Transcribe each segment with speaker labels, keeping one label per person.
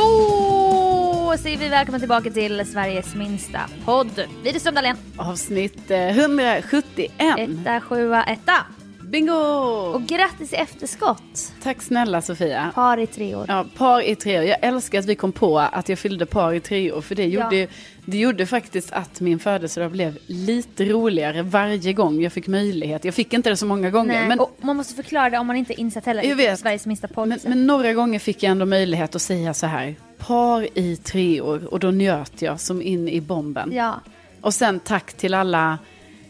Speaker 1: Då säger vi välkomna tillbaka till Sveriges minsta podd. Widerström Dahlén,
Speaker 2: Avsnitt eh, 171.
Speaker 1: etta, sjua, etta.
Speaker 2: Bingo!
Speaker 1: Och grattis i efterskott.
Speaker 2: Tack snälla Sofia.
Speaker 1: Par i tre år.
Speaker 2: Ja, par i tre. Jag älskar att vi kom på att jag fyllde par i tre år. För det gjorde,
Speaker 1: Ja.
Speaker 2: det gjorde faktiskt att min födelsedag blev lite roligare varje gång jag fick möjlighet. Jag fick inte det så många gånger.
Speaker 1: Nej,
Speaker 2: Men,
Speaker 1: och man måste förklara det om man inte är insatt heller.
Speaker 2: Jag vet.
Speaker 1: Sveriges minsta podd.
Speaker 2: men, men några gånger fick jag ändå möjlighet att säga så här. Par i tre år. Och då njöt jag som in i bomben.
Speaker 1: Ja,
Speaker 2: Och sen tack till alla,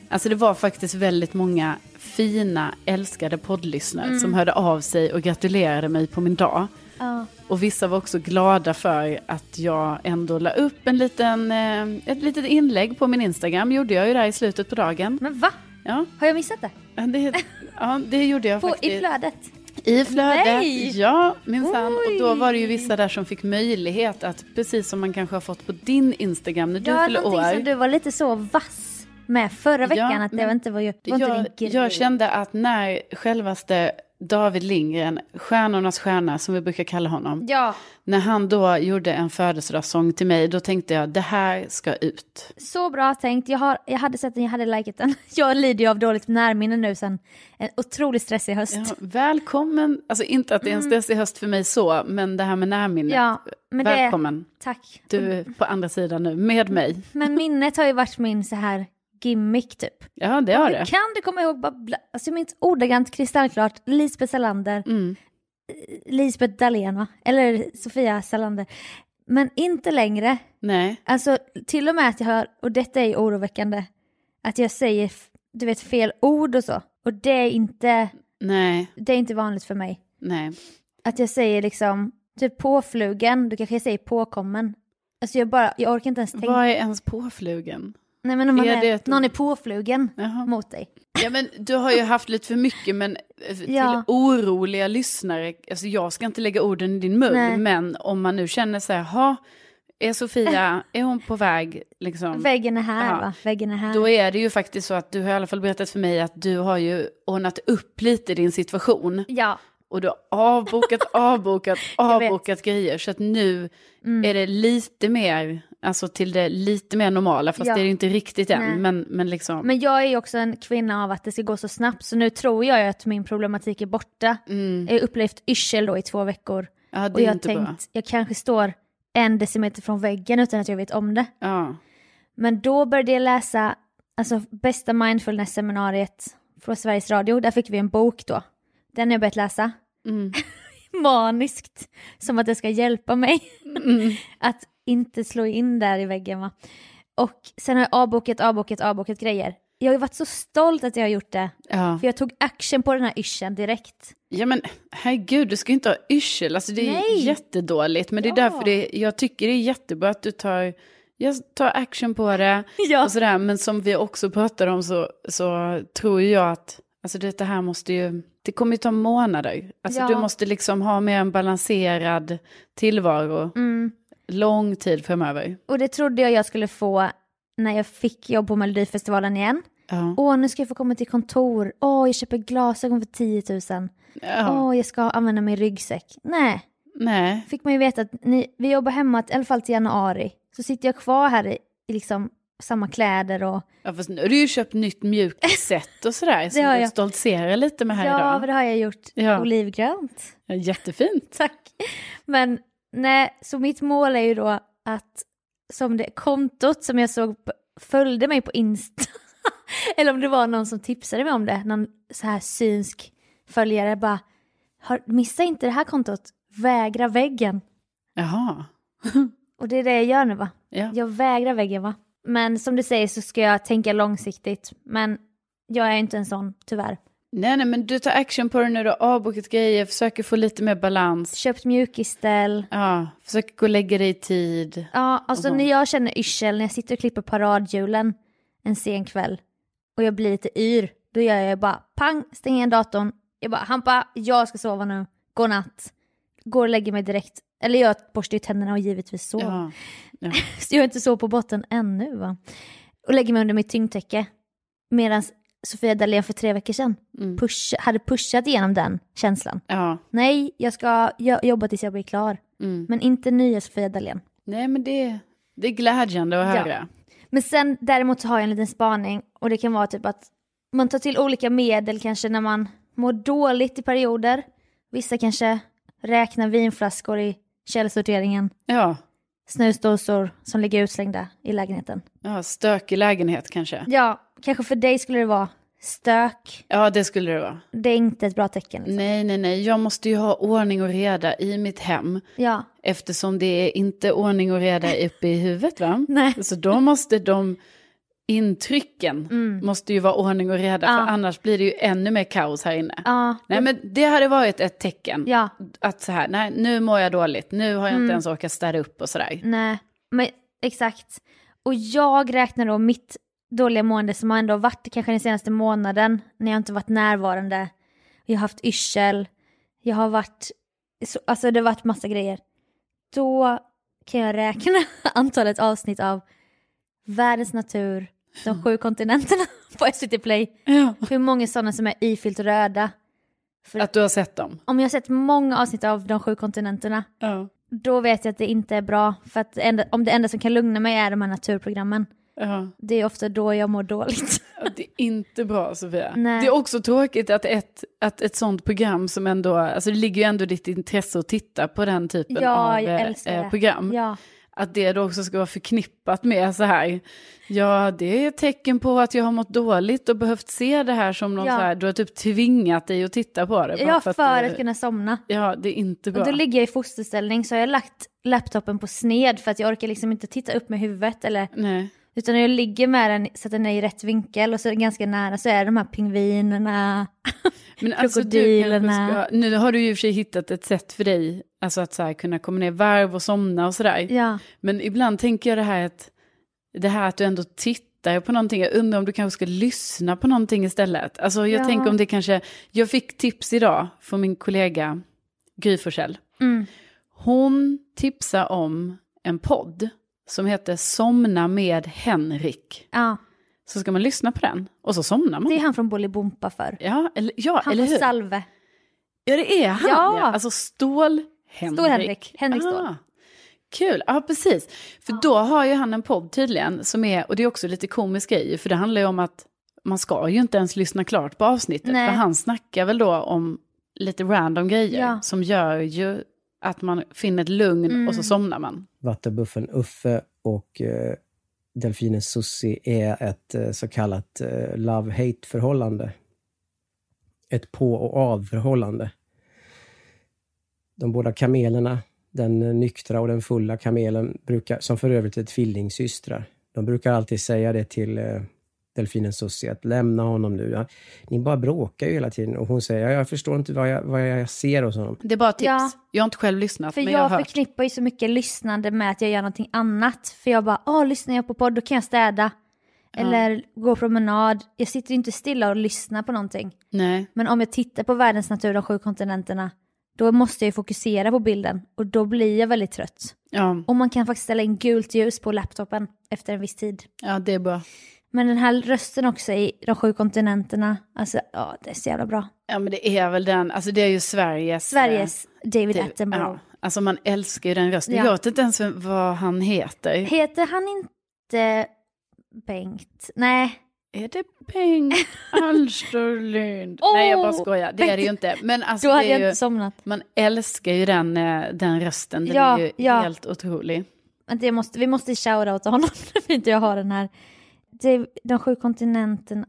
Speaker 2: alltså det var faktiskt väldigt många fina, älskade poddlyssnare
Speaker 1: Mm.
Speaker 2: som hörde av sig och gratulerade mig på min dag.
Speaker 1: ja.
Speaker 2: Och vissa var också glada för att jag ändå la upp en liten, eh, ett litet inlägg på min Instagram, gjorde jag ju där i slutet på dagen.
Speaker 1: Men va?
Speaker 2: Ja,
Speaker 1: Har jag missat det?
Speaker 2: det, ja, det gjorde jag
Speaker 1: På,
Speaker 2: faktiskt.
Speaker 1: I flödet?
Speaker 2: I flödet,
Speaker 1: Nej!
Speaker 2: ja minsann. Och då
Speaker 1: Oj.
Speaker 2: var det ju vissa där som fick möjlighet att, precis som man kanske har fått på din Instagram när du
Speaker 1: det var
Speaker 2: fyller år.
Speaker 1: någonting som du var lite så vass med förra veckan. att det
Speaker 2: men
Speaker 1: var inte var, ju- var inte
Speaker 2: jag,
Speaker 1: din grej.
Speaker 2: jag kände att när självaste David Lindgren, stjärnornas stjärna som vi brukar kalla honom,
Speaker 1: Ja,
Speaker 2: när han då gjorde en födelsedagssång till mig, då tänkte jag det här ska ut.
Speaker 1: så bra tänkt. Jag, har, jag hade sett den, jag hade likat den. Jag lider ju av dåligt närminne nu sen en otroligt stressig höst.
Speaker 2: Ja, välkommen, alltså inte att det är en stressig höst för mig så, men det här med närminnet.
Speaker 1: Mm. Ja, men det- Mm.
Speaker 2: Välkommen,
Speaker 1: Tack.
Speaker 2: du är på andra sidan nu, med mig.
Speaker 1: Men minnet har ju varit min så här gimmick typ.
Speaker 2: Ja, det har
Speaker 1: Hur
Speaker 2: det.
Speaker 1: kan du komma ihåg, bara bla, alltså jag minns ordagrant kristallklart, Lisbeth Salander,
Speaker 2: Mm.
Speaker 1: Lisbeth Dahlén va? Eller Sofia Salander. Men inte längre,
Speaker 2: Nej,
Speaker 1: alltså till och med att jag hör, och detta är ju oroväckande, att jag säger f- du vet fel ord och så. Och det är inte,
Speaker 2: nej,
Speaker 1: det är inte vanligt för mig.
Speaker 2: nej.
Speaker 1: Att jag säger liksom, typ påflugen, du kanske säger påkommen. Alltså jag bara, jag orkar inte ens tänka.
Speaker 2: Vad är ens påflugen?
Speaker 1: Nej men om man
Speaker 2: Är
Speaker 1: är
Speaker 2: det ett-
Speaker 1: någon är påflugen
Speaker 2: Jaha.
Speaker 1: mot dig.
Speaker 2: Ja men du har ju haft lite för mycket men eh, till
Speaker 1: Ja.
Speaker 2: oroliga lyssnare, alltså jag ska inte lägga orden i din mun,
Speaker 1: Nej.
Speaker 2: men om man nu känner så här, ha, är Sofia, är hon på väg liksom?
Speaker 1: Väggen är här
Speaker 2: Ja.
Speaker 1: va? Väggen är här.
Speaker 2: Då är det ju faktiskt så att du har i alla fall berättat för mig att du har ju ordnat upp lite din situation.
Speaker 1: Ja,
Speaker 2: Och du har avbokat, avbokat,
Speaker 1: Jag vet. Mm.
Speaker 2: avbokat grejer. Så att nu är det lite mer alltså till det lite mer normala, fast
Speaker 1: Ja.
Speaker 2: det är ju inte riktigt
Speaker 1: Nej.
Speaker 2: än. Men, men liksom,
Speaker 1: Men jag är ju också en kvinna av att det ska gå så snabbt så nu tror jag ju att min problematik är borta.
Speaker 2: mm,
Speaker 1: Jag har upplevt yrsel då i två veckor
Speaker 2: ja, det
Speaker 1: och jag
Speaker 2: är ju
Speaker 1: har
Speaker 2: inte
Speaker 1: tänkt
Speaker 2: bra.
Speaker 1: jag kanske står en decimeter från väggen utan att jag vet om det.
Speaker 2: Ja.
Speaker 1: Men då började jag läsa alltså, bästa mindfulness-seminariet från Sveriges Radio. Där fick vi en bok då. Den har jag börjat läsa.
Speaker 2: Mm.
Speaker 1: Maniskt. Som att det ska hjälpa mig
Speaker 2: Mm.
Speaker 1: att inte slå in där i väggen va. Och sen har jag avbokat, avbokat, avbokat grejer. Jag har ju varit så stolt att jag har gjort det.
Speaker 2: Ja.
Speaker 1: För jag tog action på den här yrseln direkt.
Speaker 2: ja, men herregud, du ska ju inte ha yrsel. Alltså, det är
Speaker 1: Nej.
Speaker 2: jättedåligt. Men det är
Speaker 1: Ja.
Speaker 2: därför det, jag tycker det är jättebra att du tar, jag tar action på det.
Speaker 1: Ja.
Speaker 2: Och sådär. Men som vi också pratar om så, så tror ju jag att alltså det, det här måste ju, det kommer ju ta månader. Alltså
Speaker 1: Ja.
Speaker 2: Du måste liksom ha mer en balanserad tillvaro
Speaker 1: Mm.
Speaker 2: lång tid framöver.
Speaker 1: Och det trodde jag jag skulle få när jag fick jobb på Melodifestivalen igen.
Speaker 2: Ja.
Speaker 1: Åh, nu ska jag få komma till kontor. Åh, jag köper glasögon för 10 000.
Speaker 2: ja.
Speaker 1: Åh, jag ska använda min ryggsäck. Nej,
Speaker 2: Nej.
Speaker 1: fick man ju veta att ni, vi jobbar hemma i alla fall till januari. Så sitter jag kvar här i, i liksom samma kläder och...
Speaker 2: Ja, fast nu har du ju köpt nytt mjukisset och sådär. som
Speaker 1: har
Speaker 2: du
Speaker 1: jag.
Speaker 2: stoltserar lite med här
Speaker 1: ja, men
Speaker 2: idag.
Speaker 1: det har jag gjort.
Speaker 2: Ja.
Speaker 1: Olivgrönt.
Speaker 2: Ja, Jättefint.
Speaker 1: Tack. Men nej, så mitt mål är ju då att som det kontot som jag såg på- följde mig på Insta, eller om det var någon som tipsade mig om det, någon så här synsk följare bara, "Har- missa inte det här kontot, vägra väggen.
Speaker 2: Jaha.
Speaker 1: Och det är det jag gör nu va?
Speaker 2: Ja.
Speaker 1: Jag vägrar väggen va? Men som du säger så ska jag tänka långsiktigt, men jag är ju inte en sån tyvärr.
Speaker 2: Nej, nej, men du tar action på det nu. Du har avbokat grejer, försöker få lite mer balans.
Speaker 1: Köpt mjukisställ,
Speaker 2: Ja, försöker gå och lägga dig i tid.
Speaker 1: Ja, alltså
Speaker 2: Och så-
Speaker 1: när jag känner yrsel, när jag sitter och klipper paradhjulen en sen kväll och jag blir lite yr, då gör jag bara pang, stänger igen datorn. Jag bara Hampa, jag ska sova nu, godnatt. Går och lägger mig direkt. Eller jag borstar ju tänderna och givetvis sover.
Speaker 2: Ja. Ja.
Speaker 1: Så jag är inte så på botten ännu va. Och lägger mig under mitt tyngdtäcke. Medan Sofia Dalén för tre veckor sedan
Speaker 2: Mm.
Speaker 1: push, hade pushat igenom den känslan.
Speaker 2: ja.
Speaker 1: Nej, jag ska jo- jobba tills jag blir klar.
Speaker 2: Mm.
Speaker 1: Men inte nya Sofia Dalén.
Speaker 2: Nej, men det, det är glädjande att
Speaker 1: Ja.
Speaker 2: höra.
Speaker 1: Men sen däremot så har jag en liten spaning och det kan vara typ att man tar till olika medel kanske när man mår dåligt i perioder. Vissa kanske räknar vinflaskor i källsorteringen,
Speaker 2: Ja.
Speaker 1: snusdosor som ligger utslängda i lägenheten.
Speaker 2: ja, stökig lägenhet kanske.
Speaker 1: Ja, kanske för dig skulle det vara stök.
Speaker 2: Ja, det skulle det vara.
Speaker 1: Det är inte ett bra tecken. Liksom.
Speaker 2: Nej, nej, nej. Jag måste ju ha ordning och reda i mitt hem.
Speaker 1: Ja,
Speaker 2: Eftersom det är inte ordning och reda uppe i huvudet, va?
Speaker 1: nej.
Speaker 2: Så då måste de intrycken måste ju vara ordning och reda,
Speaker 1: Mm. Ja.
Speaker 2: för annars blir det ju ännu mer kaos här inne.
Speaker 1: Ja,
Speaker 2: Nej, men det hade varit ett tecken.
Speaker 1: ja, Mm.
Speaker 2: Att så här, nej, nu mår jag dåligt, nu har jag inte ens orkat städa upp och sådär.
Speaker 1: nej. Men exakt. Och jag räknar då mitt dåliga mående som har ändå varit kanske den senaste månaden när jag inte varit närvarande. Jag har haft yrsel, jag har varit, så, alltså det har varit massa grejer. Då kan jag räkna antalet avsnitt av Världens natur, De sju kontinenterna på SVT Play.
Speaker 2: Ja.
Speaker 1: Hur många sådana som är ifyllt röda. För
Speaker 2: Att du har sett dem.
Speaker 1: om jag har sett många avsnitt av De sju kontinenterna,
Speaker 2: Ja.
Speaker 1: då vet jag att det inte är bra. För att det enda, om det enda som kan lugna mig är de här naturprogrammen.
Speaker 2: Ja.
Speaker 1: Det är ofta då jag mår dåligt.
Speaker 2: Ja, Det är inte bra Sofia.
Speaker 1: Nej.
Speaker 2: Det är också tråkigt att ett, att ett sånt program som ändå, alltså det ligger ju ändå i ditt intresse att titta på den typen
Speaker 1: Ja,
Speaker 2: av
Speaker 1: jag
Speaker 2: eh,
Speaker 1: älskar
Speaker 2: eh,
Speaker 1: det.
Speaker 2: program.
Speaker 1: Ja,
Speaker 2: Att det då också ska vara förknippat med så här, ja det är ett tecken på att jag har mått dåligt och behövt se det här som någon
Speaker 1: Ja.
Speaker 2: så här, du har typ tvingat dig att eh, titta på det. bara
Speaker 1: jag för
Speaker 2: du-
Speaker 1: att kunna somna.
Speaker 2: Ja, det är inte bra.
Speaker 1: Och då ligger jag i fosterställning så har jag lagt laptopen på sned för att jag orkar liksom inte titta upp med huvudet eller
Speaker 2: Nej.
Speaker 1: utan jag ligger med den så att den är i rätt vinkel och så är den ganska nära så är de här pingvinerna.
Speaker 2: Men alltså du kanske
Speaker 1: Krokodilerna.
Speaker 2: ska, nu har du ju i och för sig hittat ett sätt för dig, alltså att så här, kunna komma ner i varv och somna och sådär.
Speaker 1: Ja,
Speaker 2: Men ibland tänker jag det här att, det här att du ändå tittar på någonting. Jag undrar om du kanske ska lyssna på någonting istället. Alltså jag
Speaker 1: Ja.
Speaker 2: tänker om det kanske... Jag fick tips idag från min kollega Gry Forssell.
Speaker 1: mm.
Speaker 2: Hon tipsar om en podd som heter Somna med Henrik.
Speaker 1: ja.
Speaker 2: Så ska man lyssna på den och så somnar
Speaker 1: det
Speaker 2: man.
Speaker 1: är han från Bolibompa för.
Speaker 2: Ja, eller, ja,
Speaker 1: Han
Speaker 2: eller
Speaker 1: från
Speaker 2: hur?
Speaker 1: Salve.
Speaker 2: Ja, det är han.
Speaker 1: Ja.
Speaker 2: Alltså Stål-Henrik.
Speaker 1: Stål-Henrik. Henrik Ståhl.
Speaker 2: Ah. Kul, ja precis. För då har ju han en podd tydligen som är, och det är också lite komisk grej, för det handlar ju om att man ska ju inte ens lyssna klart på avsnittet.
Speaker 1: Nej.
Speaker 2: För han snackar väl då om lite random grejer
Speaker 1: Ja.
Speaker 2: som gör ju att man finner ett lugn och
Speaker 1: Mm.
Speaker 2: så somnar man.
Speaker 3: Vattenbuffeln Uffe och eh, delfinen Sussi är ett eh, så kallat eh, love-hate-förhållande. Ett på och av-förhållande. De båda kamelerna, den eh, nyktra och den fulla kamelen, brukar, som för övrigt är tvillingsystrar, de brukar alltid säga det till eh, delfinen Sussi, att lämna honom nu. Ja, ni bara bråkar ju hela tiden. Och hon säger, "Ja, jag förstår inte vad jag, vad jag ser hos honom.
Speaker 2: Det är bara tips.
Speaker 1: Ja.
Speaker 2: Jag har inte själv lyssnat,
Speaker 1: För
Speaker 2: men
Speaker 1: jag,
Speaker 2: jag har hört.
Speaker 1: förknippar ju så mycket lyssnande med att jag gör någonting annat. För jag bara, åh, lyssnar jag på podd då kan jag städa. Eller gå promenad. Jag sitter ju inte stilla och lyssnar på någonting.
Speaker 2: Nej.
Speaker 1: Men om jag tittar på världens natur, de sju kontinenterna, då måste jag ju fokusera på bilden och då blir jag väldigt trött.
Speaker 2: Ja.
Speaker 1: Och man kan faktiskt ställa in gult ljus på laptopen efter en viss tid.
Speaker 2: ja, det är bra.
Speaker 1: Men den här rösten också i de sju kontinenterna, alltså ja, det är så jävla bra.
Speaker 2: Ja, men det är väl den, alltså det är ju Sveriges...
Speaker 1: Sveriges David
Speaker 2: eh, typ,
Speaker 1: Attenborough.
Speaker 2: ja. Alltså man älskar ju den rösten.
Speaker 1: Ja.
Speaker 2: Jag vet inte ens vem- vad han heter.
Speaker 1: Heter han inte Bengt? Nej,
Speaker 2: Är det Bengt Alsterlind?
Speaker 1: Åh,
Speaker 2: Nej, jag bara skojar. Det är det ju
Speaker 1: Bengt.
Speaker 2: inte. Men alltså,
Speaker 1: då hade
Speaker 2: det
Speaker 1: jag
Speaker 2: är ju,
Speaker 1: inte somnat.
Speaker 2: man älskar ju den, eh, den rösten. Den
Speaker 1: Ja,
Speaker 2: är ju
Speaker 1: ja.
Speaker 2: helt otrolig.
Speaker 1: Vänta, jag måste, vi måste shoutouta honom när inte jag har den här. Det, de sju kontinenterna.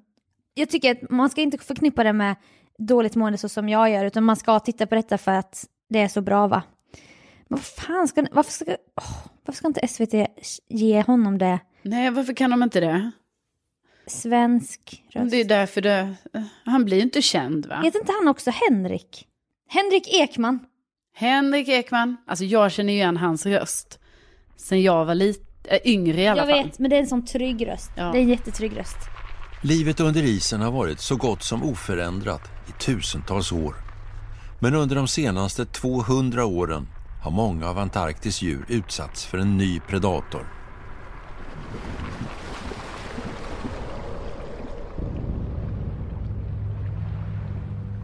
Speaker 1: Jag tycker att man ska inte förknippa det med dåligt mående så som jag gör, utan man ska titta på detta för att det är så bra va? Men vad fan ska, varför ska, åh, varför ska inte SVT ge honom det?
Speaker 2: Nej, varför kan de inte det?
Speaker 1: Svensk röst.
Speaker 2: Det är därför det... eh, Han blir ju inte känd, va?
Speaker 1: Heter inte han också Henrik? Henrik Ekman.
Speaker 2: Henrik Ekman. Alltså, jag känner ju igen hans röst. Sen jag var lite... Äh, yngre i alla
Speaker 1: Jag
Speaker 2: fall.
Speaker 1: vet, men det är en sån trygg röst.
Speaker 2: Ja.
Speaker 1: Det är en jättetrygg röst.
Speaker 4: Livet under isen har varit så gott som oförändrat i tusentals år. Men under de senaste 200 åren har många av Antarktis djur utsatts för en ny predator.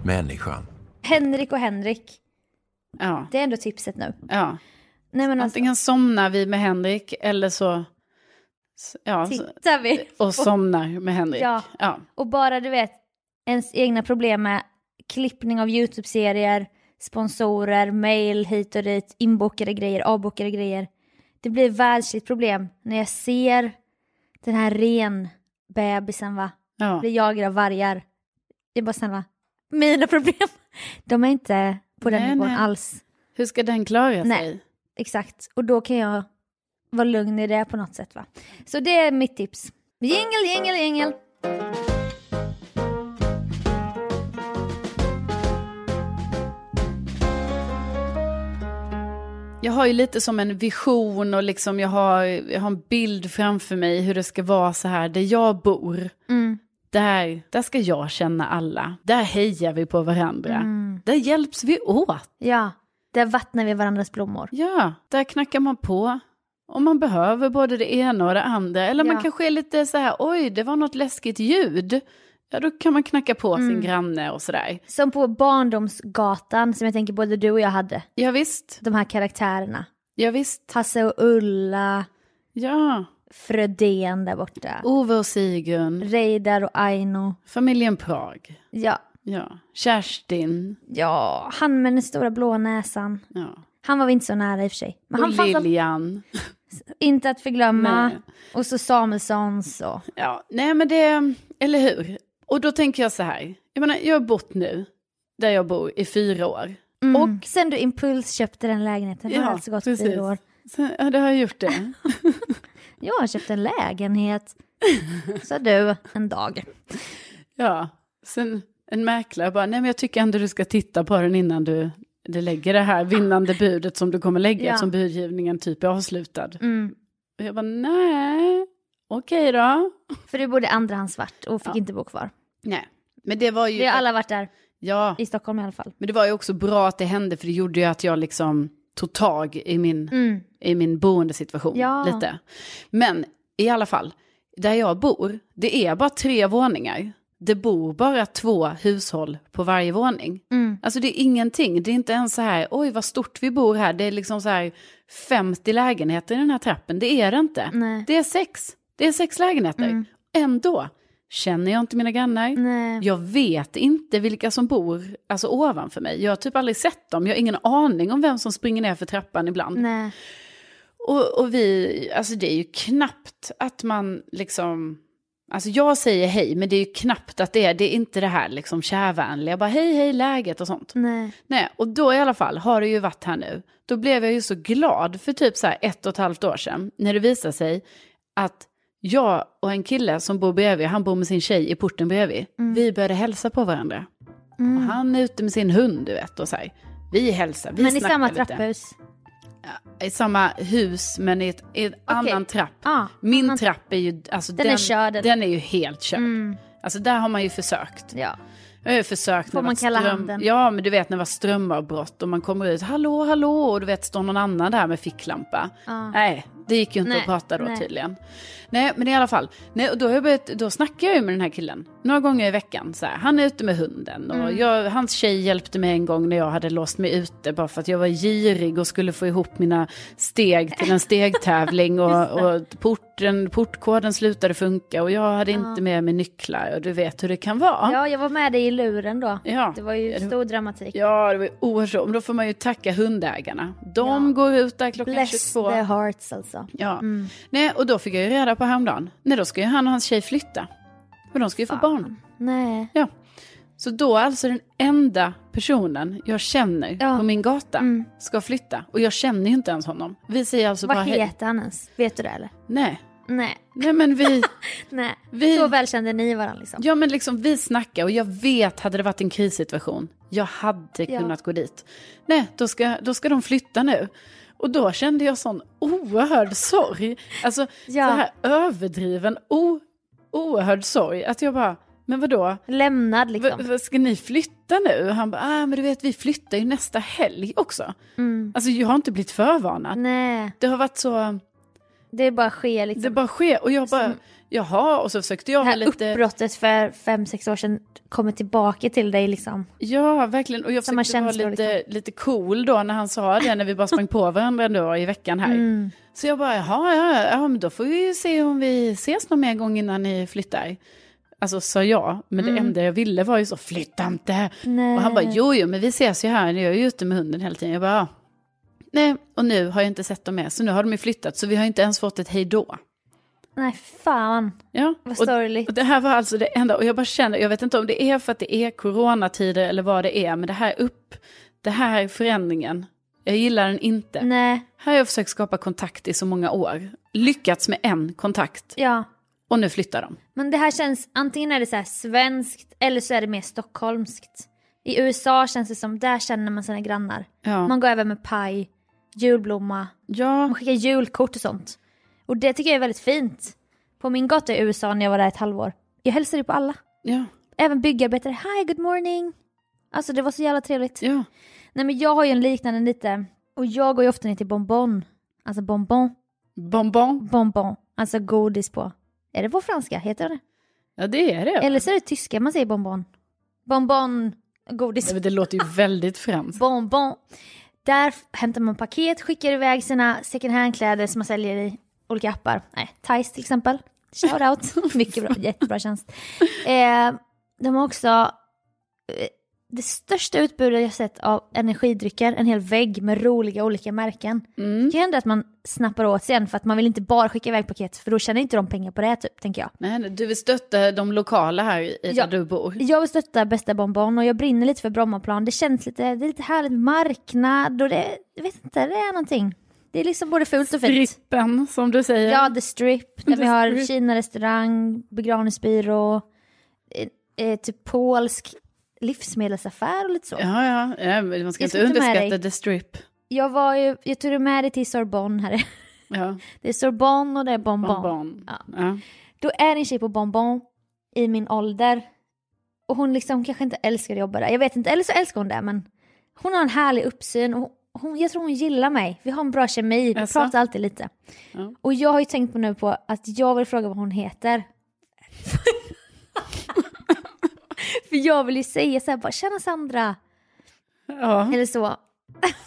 Speaker 4: Människan.
Speaker 1: Henrik och Henrik.
Speaker 2: Ja,
Speaker 1: Det är ändå tipset nu.
Speaker 2: ja.
Speaker 1: Nej men alltså,
Speaker 2: Antingen somnar vi med Henrik eller så... Ja, så,
Speaker 1: tittar vi.
Speaker 2: Alltså, och somnar med Henrik.
Speaker 1: Ja.
Speaker 2: ja.
Speaker 1: Och bara du vet, ens egna problem med klippning av YouTube-serier, sponsorer, mail hit och dit, inbokade grejer, avbokade grejer. Det blir ett världsligt problem när jag ser den här ren bebisen va,
Speaker 2: ja.
Speaker 1: blir jagad av vargar. Jag bara snälla, mina problem, de är inte på den
Speaker 2: Nej,
Speaker 1: nivån
Speaker 2: nej.
Speaker 1: alls.
Speaker 2: Hur ska den klara
Speaker 1: Nej.
Speaker 2: sig?
Speaker 1: Exakt, och då kan jag vara lugn i det på något sätt va. Så det är mitt tips. Jingel, jingel, jingel.
Speaker 2: Jag har ju lite som en vision och liksom jag har, jag har en bild framför mig hur det ska vara så här där jag bor.
Speaker 1: Mm.
Speaker 2: Där, där ska jag känna alla. Där hejar vi på varandra.
Speaker 1: Mm.
Speaker 2: Där hjälps vi åt.
Speaker 1: Ja, där vattnar vi varandras blommor.
Speaker 2: Ja, där knackar man på. Om man behöver både det ena och det andra. Eller
Speaker 1: Ja.
Speaker 2: man kanske är lite så här, oj, det var något läskigt ljud. Ja, då kan man knacka på
Speaker 1: Mm.
Speaker 2: sin granne och sådär.
Speaker 1: Som på Barndomsgatan som jag tänker både du och jag hade.
Speaker 2: Ja, visst.
Speaker 1: De här karaktärerna.
Speaker 2: Ja, visst.
Speaker 1: Hasse och Ulla,
Speaker 2: Ja.
Speaker 1: Frödén där borta.
Speaker 2: Ove och Sigun.
Speaker 1: Reidar och Aino.
Speaker 2: Familjen Prag.
Speaker 1: Ja,
Speaker 2: Ja, Kerstin.
Speaker 1: ja, han med den stora blå näsan.
Speaker 2: Ja.
Speaker 1: Han var vi inte så nära i och för sig. Men
Speaker 2: Och
Speaker 1: han fanns all-
Speaker 2: Lilian.
Speaker 1: inte att förglömma.
Speaker 2: Nej.
Speaker 1: Och så Samuelssons och...
Speaker 2: Ja, nej men det, eller hur? Och då tänker jag så här, jag menar jag har bott nu, där jag bor, i fyra år.
Speaker 1: Och sen du Impuls köpte den lägenheten. Ja, Mm. har alltså gått fyra år.
Speaker 2: Så, ja, det har jag gjort det.
Speaker 1: Jag har köpt en lägenhet. Sa du en dag.
Speaker 2: ja, sen en mäklare bara, nej men jag tycker ändå du ska titta på den innan du, du lägger det här vinnande budet som du kommer lägga,
Speaker 1: Ja.
Speaker 2: som budgivningen typ är avslutad.
Speaker 1: Mm.
Speaker 2: Och jag bara, nej, okej då.
Speaker 1: För du bodde andrahandsvart och fick inte bo kvar.
Speaker 2: Nej, men det var ju...
Speaker 1: Vi har alla varit där,
Speaker 2: ja.
Speaker 1: i Stockholm i alla fall.
Speaker 2: Men det var ju också bra att det hände för det gjorde ju att jag liksom tog tag i min, i min boendesituation
Speaker 1: Ja.
Speaker 2: lite. Men i alla fall, där jag bor, det är bara tre våningar. det bor bara två hushåll på varje våning.
Speaker 1: Mm.
Speaker 2: Alltså det är ingenting, det är inte ens så här, oj vad stort vi bor här, det är liksom så här 50 lägenheter i den här trappen, det är det inte.
Speaker 1: Nej.
Speaker 2: Det är sex, det är sex lägenheter.
Speaker 1: Mm.
Speaker 2: Ändå känner jag inte mina grannar,
Speaker 1: Nej.
Speaker 2: jag vet inte vilka som bor alltså, ovanför mig. Jag har typ aldrig sett dem, jag har ingen aning om vem som springer ner för trappan ibland.
Speaker 1: Nej.
Speaker 2: Och, och vi, alltså det är ju knappt att man liksom, alltså jag säger hej, men det är ju knappt att det är, det är inte det här liksom kärvänliga, bara hej hej läget och sånt.
Speaker 1: Nej.
Speaker 2: Nej, och då i alla fall har det ju varit här nu. Då blev jag ju så glad för typ så här ett och ett halvt år sedan, när det visade sig att jag och en kille som bor bredvid, han bor med sin tjej i porten bredvid, vi började hälsa på varandra.
Speaker 1: Mm.
Speaker 2: Och han är ute med sin hund, du vet, och så här, vi hälsar, vi
Speaker 1: Men i
Speaker 2: snackar
Speaker 1: samma
Speaker 2: lite.
Speaker 1: trapphus?
Speaker 2: I samma hus men i, ett, i en annan trapp.
Speaker 1: Ja,
Speaker 2: Min
Speaker 1: annan-
Speaker 2: trapp är ju, alltså,
Speaker 1: Den är körd.
Speaker 2: den är ju helt körd.
Speaker 1: Mm.
Speaker 2: Alltså där har man ju försökt.
Speaker 1: Ja.
Speaker 2: Jag har ju försökt
Speaker 1: Får
Speaker 2: när
Speaker 1: man
Speaker 2: det varit
Speaker 1: kalla handen?
Speaker 2: Ja men du vet när det var strömavbrott och man kommer ut, hallå hallå och du vet står någon annan där med ficklampa.
Speaker 1: Ja.
Speaker 2: Nej, det gick ju inte
Speaker 1: Nej,
Speaker 2: att prata då
Speaker 1: nej.
Speaker 2: tydligen. Nej men i alla fall, nej, och då, har jag börjat, då snackar jag ju med den här killen några gånger i veckan. Så här. Han är ute med hunden och
Speaker 1: Mm.
Speaker 2: jag, hans tjej hjälpte mig en gång när jag hade låst mig ute bara för att jag var girig och skulle få ihop mina steg till en stegtävling och, och porten, portkoden slutade funka och jag hade inte med mig nycklar och du vet hur det kan vara.
Speaker 1: ja, jag var med dig i luren då.
Speaker 2: Ja.
Speaker 1: Det var ju stor dramatik.
Speaker 2: Ja, det var ju oerhört så. Men då får man ju tacka hundägarna. De går ut där klockan
Speaker 1: Bless
Speaker 2: 22.
Speaker 1: the hearts alltså.
Speaker 2: Ja. Nej, och då fick jag ju reda på häromdagen. Nej, då ska ju han och hans tjej flytta. Men de ska ju få barn.
Speaker 1: Nej.
Speaker 2: Ja. Så då alltså den enda personen jag känner
Speaker 1: Ja. Mm.
Speaker 2: på min gata ska flytta. Och jag känner ju inte ens honom. Vi säger alltså bara
Speaker 1: Vad
Speaker 2: hej.
Speaker 1: heter han ens? Vet du det eller?
Speaker 2: Nej.
Speaker 1: Nej.
Speaker 2: Nej men vi,
Speaker 1: Nej.
Speaker 2: Vi-
Speaker 1: Så väl kände ni varandra liksom.
Speaker 2: ja men liksom vi snackar och jag vet hade det varit en krissituation, jag hade
Speaker 1: Ja.
Speaker 2: kunnat gå dit. Nej, då ska, då ska de flytta nu. Och då kände jag sån oerhörd sorg, alltså
Speaker 1: Ja.
Speaker 2: så här överdriven, o, oerhörd sorg. Att jag bara, men vadå?
Speaker 1: Lämnad liksom.
Speaker 2: V- v- ska ni flytta nu? Och han bara, ah, men du vet vi flyttar ju nästa helg också.
Speaker 1: Mm.
Speaker 2: Alltså jag har inte blivit förvarnad.
Speaker 1: Nej.
Speaker 2: Det har varit så,
Speaker 1: Det bara sker liksom.
Speaker 2: det bara sker och jag bara, jaha, och så försökte jag
Speaker 1: det här
Speaker 2: ha lite...
Speaker 1: uppbrottet för fem sex år sedan kommer tillbaka till dig liksom.
Speaker 2: Ja, verkligen. Och jag
Speaker 1: Samma liksom.
Speaker 2: försökte vara
Speaker 1: känslor,
Speaker 2: lite, lite cool då när han sa det, när vi bara sprang på varandra då i veckan här.
Speaker 1: Mm.
Speaker 2: Så jag bara, jaha, ja, ja, men då får vi ju se om vi ses någon mer gång innan ni flyttar. Alltså sa jag, men det enda jag ville var ju så, flytta inte.
Speaker 1: Mm. Nej.
Speaker 2: Och han bara, jo, jo, men vi ses ju här, jag är ju ute med hunden hela tiden. Jag bara, ja. nej, och nu har jag inte sett dem mer, så nu har de ju flyttat, så vi har inte ens fått ett hej då.
Speaker 1: Nej fan.
Speaker 2: Ja.
Speaker 1: Vad
Speaker 2: och-
Speaker 1: sorgligt.
Speaker 2: Och det här var alltså det enda, och jag bara känner, jag vet inte om det är för att det är coronatider eller vad det är, men det här upp, det här förändringen, jag gillar den inte.
Speaker 1: Nej.
Speaker 2: Här har jag försökt skapa kontakt i så många år, lyckats med en kontakt,
Speaker 1: Ja.
Speaker 2: och nu flyttar de.
Speaker 1: Men det här känns, antingen är det så här svenskt eller så är det mer stockholmskt. I USA känns det som, där känner man sina grannar.
Speaker 2: Ja.
Speaker 1: Man går över med paj, julblomma,
Speaker 2: ja,
Speaker 1: man skickar julkort och sånt. Och det tycker jag är väldigt fint. På min gata i USA när jag var där ett halvår, jag hälsade på alla.
Speaker 2: ja,
Speaker 1: Även byggarbetare, hi good morning. Alltså det var så jävla trevligt.
Speaker 2: ja,
Speaker 1: Nej men jag har ju en liknande lite, och jag går ju ofta ner till Bonbon. Alltså Bonbon,
Speaker 2: bonbon,
Speaker 1: Bonbon, alltså godis på. Är det på franska, heter det
Speaker 2: ja det är det.
Speaker 1: Eller så är det tyska man säger bonbon. Bonbon, godis.
Speaker 2: Nej, men det låter ju väldigt franskt.
Speaker 1: Bonbon. Där f- hämtar man paket, skickar iväg sina second hand-kläder som man säljer i olika appar. Nej, Thais till exempel. Shout out. Mycket bra, jättebra tjänst. Eh, de har också eh, det största utbudet jag sett av energidrycker, en hel vägg med roliga olika märken.
Speaker 2: Mm.
Speaker 1: Det kan hända att man snappar åt sig en för att man vill inte bara skicka iväg paket för då tjänar inte de pengar på det typ, tänker jag.
Speaker 2: Nej, nej, du vill stötta de lokala här i där
Speaker 1: Ja.
Speaker 2: du bor.
Speaker 1: Jag vill stötta Bästa Bonbon och jag brinner lite för Brommaplan. Det känns lite, det är lite härligt med marknad och det, jag vet inte, det är någonting. Det är liksom både fult och fint.
Speaker 2: Strippen, som du säger.
Speaker 1: Ja, The Strip, där
Speaker 2: The
Speaker 1: vi har
Speaker 2: Strip.
Speaker 1: Kina-restaurang, begravningsbyrå, eh, eh, typ polsk livsmedelsaffär och lite så.
Speaker 2: ja, ja, ja, men man ska
Speaker 1: Jag ska
Speaker 2: inte
Speaker 1: ta med
Speaker 2: underskatta
Speaker 1: dig.
Speaker 2: the strip.
Speaker 1: Jag var ju, jag tog med det till Sorbonne här.
Speaker 2: Ja,
Speaker 1: Det är Sorbonne och det är Bonbon.
Speaker 2: bonbon.
Speaker 1: Ja.
Speaker 2: Ja.
Speaker 1: Då är det en tjej på Bonbon i min ålder. Och hon liksom kanske inte älskar att jobba där. Jag vet inte, eller så älskar hon det men hon har en härlig uppsyn och hon, jag tror hon gillar mig. Vi har en bra kemi, vi
Speaker 2: Jaså?
Speaker 1: pratar alltid lite.
Speaker 2: Ja.
Speaker 1: Och jag har ju tänkt på nu på att jag vill fråga vad hon heter. För jag vill ju säga så här bara “Tjena Sandra”
Speaker 2: Ja,
Speaker 1: eller så.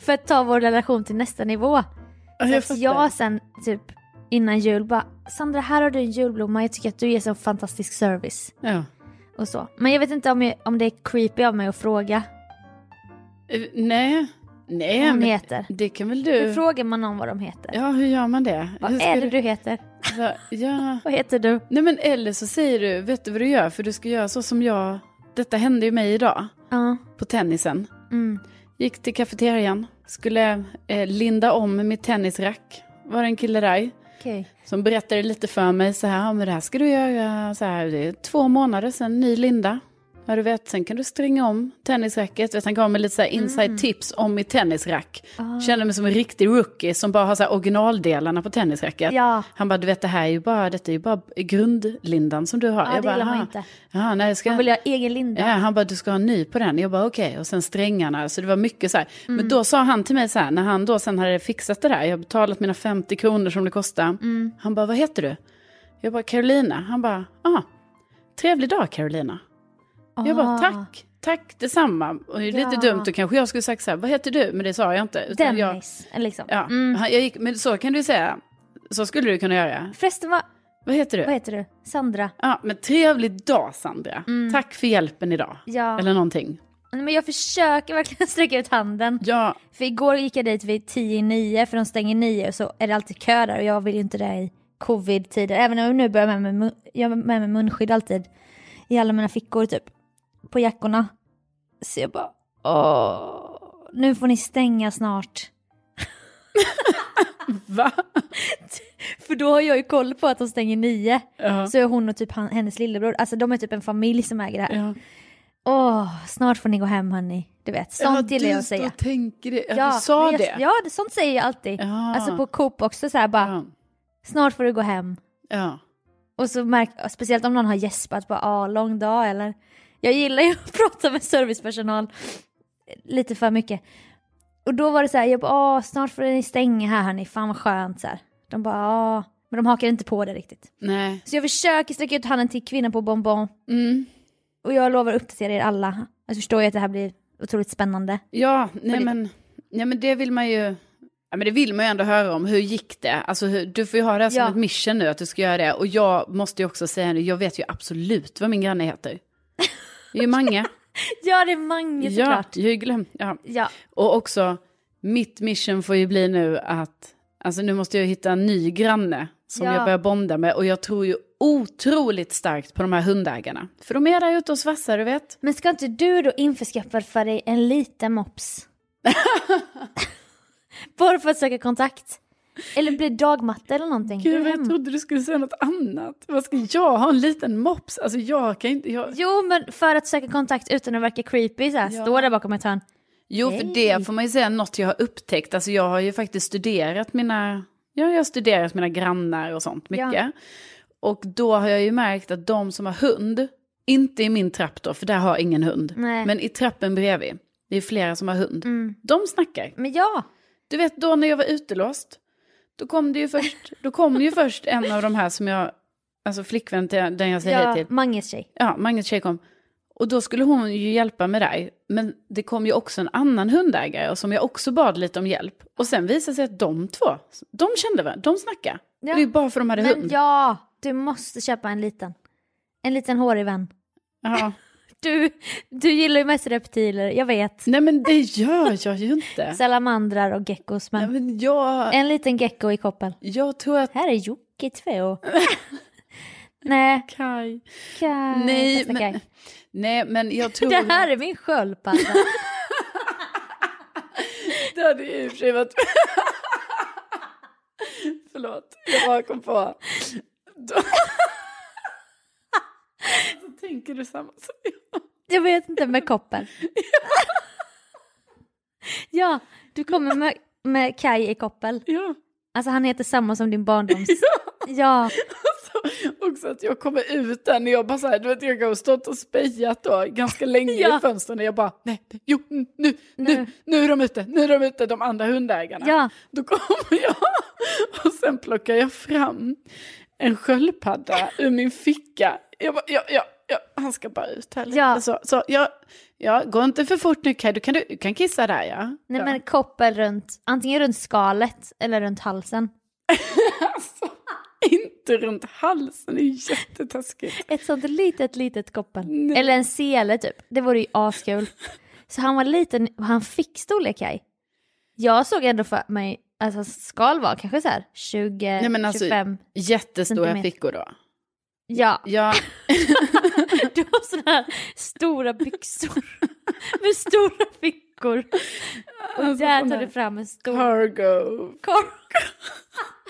Speaker 1: för att ta vår relation till nästa nivå.
Speaker 2: jag
Speaker 1: Så att
Speaker 2: fattar.
Speaker 1: Alltså, jag sen typ innan jul bara “Sandra, här har du en julblomma, jag tycker att du ger så fantastisk service”
Speaker 2: Ja.
Speaker 1: och så. Men jag vet inte om, jag, om det är creepy av mig att fråga
Speaker 2: Eh, Nej, nej.
Speaker 1: vad hon
Speaker 2: men
Speaker 1: heter.
Speaker 2: Det kan väl
Speaker 1: Hur
Speaker 2: du?
Speaker 1: frågar man någon vad de heter?
Speaker 2: Ja, hur gör man det?
Speaker 1: Vad
Speaker 2: hur ska
Speaker 1: är det
Speaker 2: du-
Speaker 1: du heter?
Speaker 2: Va- Ja.
Speaker 1: Vad heter du?
Speaker 2: Nej men eller så säger du, vet du vad du gör? För du ska göra så som jag, detta hände ju mig idag
Speaker 1: Ja.
Speaker 2: på tennisen.
Speaker 1: Mm.
Speaker 2: Gick till kafeterian, skulle eh, linda om mitt tennisrack. Var det en kille där
Speaker 1: Okej.
Speaker 2: som berättade lite för mig så här, "Ja, men det här ska du göra så här, det är två månader sen ny linda. Ja du vet, sen kan du stringa om tennisracket. Vet, han gav mig lite så här inside
Speaker 1: Mm.
Speaker 2: tips om mitt tennisrack.
Speaker 1: Ah.
Speaker 2: Kände mig som en riktig rookie som bara har så här originaldelarna på tennisracket.
Speaker 1: Ja.
Speaker 2: Han bara, du vet det här är ju bara, detta är ju bara grundlindan som du har.
Speaker 1: Ja, det
Speaker 2: bara,
Speaker 1: gillar man
Speaker 2: "Aha."
Speaker 1: inte.
Speaker 2: Ja, nej, jag ska...
Speaker 1: Man vill ha egen linda.
Speaker 2: Ja, han bara, du ska ha en ny på den. Jag bara, okej. Och sen strängarna. Så det var mycket så här. Men
Speaker 1: Mm.
Speaker 2: då sa han till mig så här, när han då sen hade fixat det där. Jag har betalat mina 50 kronor som det kostade.
Speaker 1: Mm.
Speaker 2: Han bara, vad heter du? Jag bara, Carolina. Han bara, ah, trevlig dag Carolina. Jag bara,
Speaker 1: Ah.
Speaker 2: tack. Tack detsamma. Och det är lite
Speaker 1: Ja.
Speaker 2: dumt, då kanske jag skulle sagt så här, vad heter du? Men det sa jag inte. utan jag,
Speaker 1: Dennis, liksom.
Speaker 2: ja,
Speaker 1: Mm.
Speaker 2: han- jag gick, men så kan du säga. Så skulle du kunna göra.
Speaker 1: Förresten, vad,
Speaker 2: Vad heter du?
Speaker 1: vad heter du? Sandra?
Speaker 2: Ja, men trevlig dag Sandra. Tack för hjälpen idag.
Speaker 1: Mm. Ja.
Speaker 2: Eller någonting.
Speaker 1: Nej, Men jag försöker verkligen sträcka ut handen.
Speaker 2: Ja,
Speaker 1: För igår gick jag dit vid 10 i 9 för de stänger 9 och så är det alltid kö där och jag vill ju inte det i covid-tider. Även om jag nu börjar med mig, mun- jag har med mig munskydd alltid i alla mina fickor typ. På jackorna. Så jag bara åh, nu får ni stänga snart.
Speaker 2: va?
Speaker 1: För då har jag ju koll på att de stänger 9.
Speaker 2: Ja.
Speaker 1: Så är hon och typ han, hennes lillebror, alltså de är typ en familj som äger det här.
Speaker 2: Ja.
Speaker 1: Åh, snart får ni gå hem hörni. Du vet, sånt gillar jag att säga.
Speaker 2: Du tänker det. Ja, du sa
Speaker 1: men jag,
Speaker 2: det.
Speaker 1: Ja, det, sånt säger jag alltid.
Speaker 2: Ja.
Speaker 1: Alltså på Coop också så här bara,
Speaker 2: ja.
Speaker 1: snart får du gå hem.
Speaker 2: ja.
Speaker 1: Och så märk, speciellt om någon har gäspat, bara ah, lång dag eller. Jag gillar ju att prata med servicepersonal lite för mycket. Och då var det så här, jag bara ah, snart får ni stänga här hörni, fan vad skönt så här. De bara ah, men de hakar inte på det riktigt.
Speaker 2: Nej.
Speaker 1: Så jag försöker sträcka ut handen till kvinnan på Bonbon
Speaker 2: Mm.
Speaker 1: och jag lovar att uppdatera er alla. Jag förstår ju att det här blir otroligt spännande.
Speaker 2: Ja, nej
Speaker 1: det-
Speaker 2: men, nej men det vill man ju... Ja, men det vill man ju ändå höra om, hur gick det? Alltså, hur, du får ju ha det här som
Speaker 1: Ja.
Speaker 2: ett mission nu, att du ska göra det. Och jag måste ju också säga nu, jag vet ju absolut vad min granne heter. Det är ju Mange.
Speaker 1: Ja, det är Mange
Speaker 2: ja,
Speaker 1: såklart.
Speaker 2: jag har ju glömt. Ja.
Speaker 1: Ja,
Speaker 2: Och också, mitt mission får ju bli nu att, alltså nu måste jag hitta en ny granne som
Speaker 1: Ja.
Speaker 2: jag börjar bonda med. Och jag tror ju otroligt starkt på de här hundägarna. För de är där ute och svassar, du vet.
Speaker 1: Men ska inte du då införskaffa för dig en liten mops? Bara för att söka kontakt. Eller bli dagmatta eller någonting.
Speaker 2: Gud,
Speaker 1: Gå
Speaker 2: jag
Speaker 1: hem.
Speaker 2: trodde du skulle säga något annat. Vad ska jag ha? En liten mops? Alltså jag kan inte... Jag...
Speaker 1: Jo, men för att söka kontakt utan att verka creepy så här,
Speaker 2: Ja.
Speaker 1: stå där bakom ett hörn.
Speaker 2: Jo, för det får man ju säga något jag har upptäckt. Alltså jag har ju faktiskt studerat mina... Ja, jag har studerat mina grannar och sånt mycket.
Speaker 1: Ja.
Speaker 2: Och då har jag ju märkt att de som har hund, inte i min trapp då, för där har jag ingen hund.
Speaker 1: Nej. Mm.
Speaker 2: Men i trappen bredvid, det är flera som har hund. De snackar.
Speaker 1: Men ja,
Speaker 2: Du vet då när jag var utelåst, då kom det ju först, då kom ju först en av de här som jag, alltså flickvän till den jag säger typ- hej
Speaker 1: ja
Speaker 2: till.
Speaker 1: Manges tjej.
Speaker 2: Ja, Magnus tjej kom. Och då skulle hon ju hjälpa med dig. Men det kom ju också en annan hundägare och som jag också bad lite om hjälp. Och sen visade det sig att de två, de kände varandra, de snackade.
Speaker 1: Ja.
Speaker 2: Det är ju bara för de hade
Speaker 1: Men
Speaker 2: hund.
Speaker 1: ja, du måste köpa en liten. En liten hårig vän.
Speaker 2: Ja.
Speaker 1: Du, du gillar ju mest reptiler, jag vet.
Speaker 2: Nej men det gör jag ju inte.
Speaker 1: Salamandrar och geckos,
Speaker 2: Nej,
Speaker 1: men
Speaker 2: men jag,
Speaker 1: en liten gecko i koppel.
Speaker 2: jag tror att...
Speaker 1: Här är Jocke två. Nej,
Speaker 2: Kaj.
Speaker 1: Kaj.
Speaker 2: Nej,
Speaker 1: Bästa
Speaker 2: men,
Speaker 1: Kaj.
Speaker 2: nej men jag tror...
Speaker 1: Det här är min sköldpadda.
Speaker 2: Det hade ju i och för sig varit... Förlåt, jag bara kom på. Då... Så tänker du samma som jag.
Speaker 1: jag vet inte, med koppen. ja, du kommer med, med Kaj i koppel.
Speaker 2: Ja.
Speaker 1: Alltså han heter samma som din barndoms... Ja,
Speaker 2: Alltså, också att jag kommer ut där när jag bara så här, du vet jag har stått och spejat då ganska länge
Speaker 1: Ja.
Speaker 2: i fönstren och jag bara nej, nej jo, mm, nu, nu, nu är de ute, nu är de ute, de andra hundägarna.
Speaker 1: Ja.
Speaker 2: Då kommer jag och sen plockar jag fram en sköldpadda ur min ficka. Jag, bara, jag, jag, Ja, han ska bara ut här lite.
Speaker 1: Ja.
Speaker 2: Så, så, ja, ja, gå inte för fort nu Kaj, du kan, du kan kissa där ja.
Speaker 1: Nej
Speaker 2: ja.
Speaker 1: men koppel runt, antingen runt skalet eller runt halsen.
Speaker 2: Alltså, inte runt halsen, det är ju jättetaskigt.
Speaker 1: Ett sånt litet, litet koppel.
Speaker 2: Nej.
Speaker 1: Eller en sele typ. Det vore ju askul. Så han var liten, och han fick storlek Kaj. Jag såg ändå för mig, alltså hans skal var kanske så här 20,
Speaker 2: Nej, men alltså-
Speaker 1: 25.
Speaker 2: Jättestora
Speaker 1: Centimeter.
Speaker 2: fickor då.
Speaker 1: Ja,
Speaker 2: Ja,
Speaker 1: du har sådana här stora byxor med stora fickor. Och
Speaker 2: Alltså,
Speaker 1: där
Speaker 2: sån
Speaker 1: tar
Speaker 2: här
Speaker 1: du fram en stor
Speaker 2: cargo.
Speaker 1: Cargo.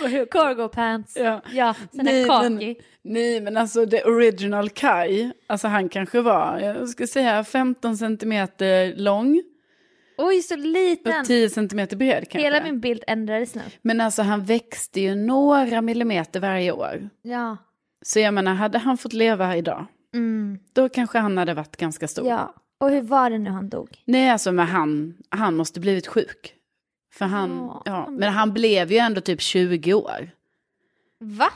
Speaker 2: Vad heter
Speaker 1: cargo pants.
Speaker 2: Ja.
Speaker 1: Ja, sån här
Speaker 2: Nej, men-
Speaker 1: kaki.
Speaker 2: Nej, men alltså the original Kai, alltså han kanske var, jag ska säga 15 centimeter lång
Speaker 1: Oj, så liten.
Speaker 2: och 10 centimeter bred kanske.
Speaker 1: Hela min bild ändrades nu.
Speaker 2: Men alltså han växte ju några millimeter varje år.
Speaker 1: Ja.
Speaker 2: Så jag menar, hade han fått leva idag,
Speaker 1: Mm.
Speaker 2: då kanske han hade varit ganska stor.
Speaker 1: Ja. Och hur var det nu han dog?
Speaker 2: Nej, alltså men han, han måste blivit sjuk. För han,
Speaker 1: Ja,
Speaker 2: ja,
Speaker 1: han blev-
Speaker 2: men han blev ju ändå typ 20 år.
Speaker 1: Va?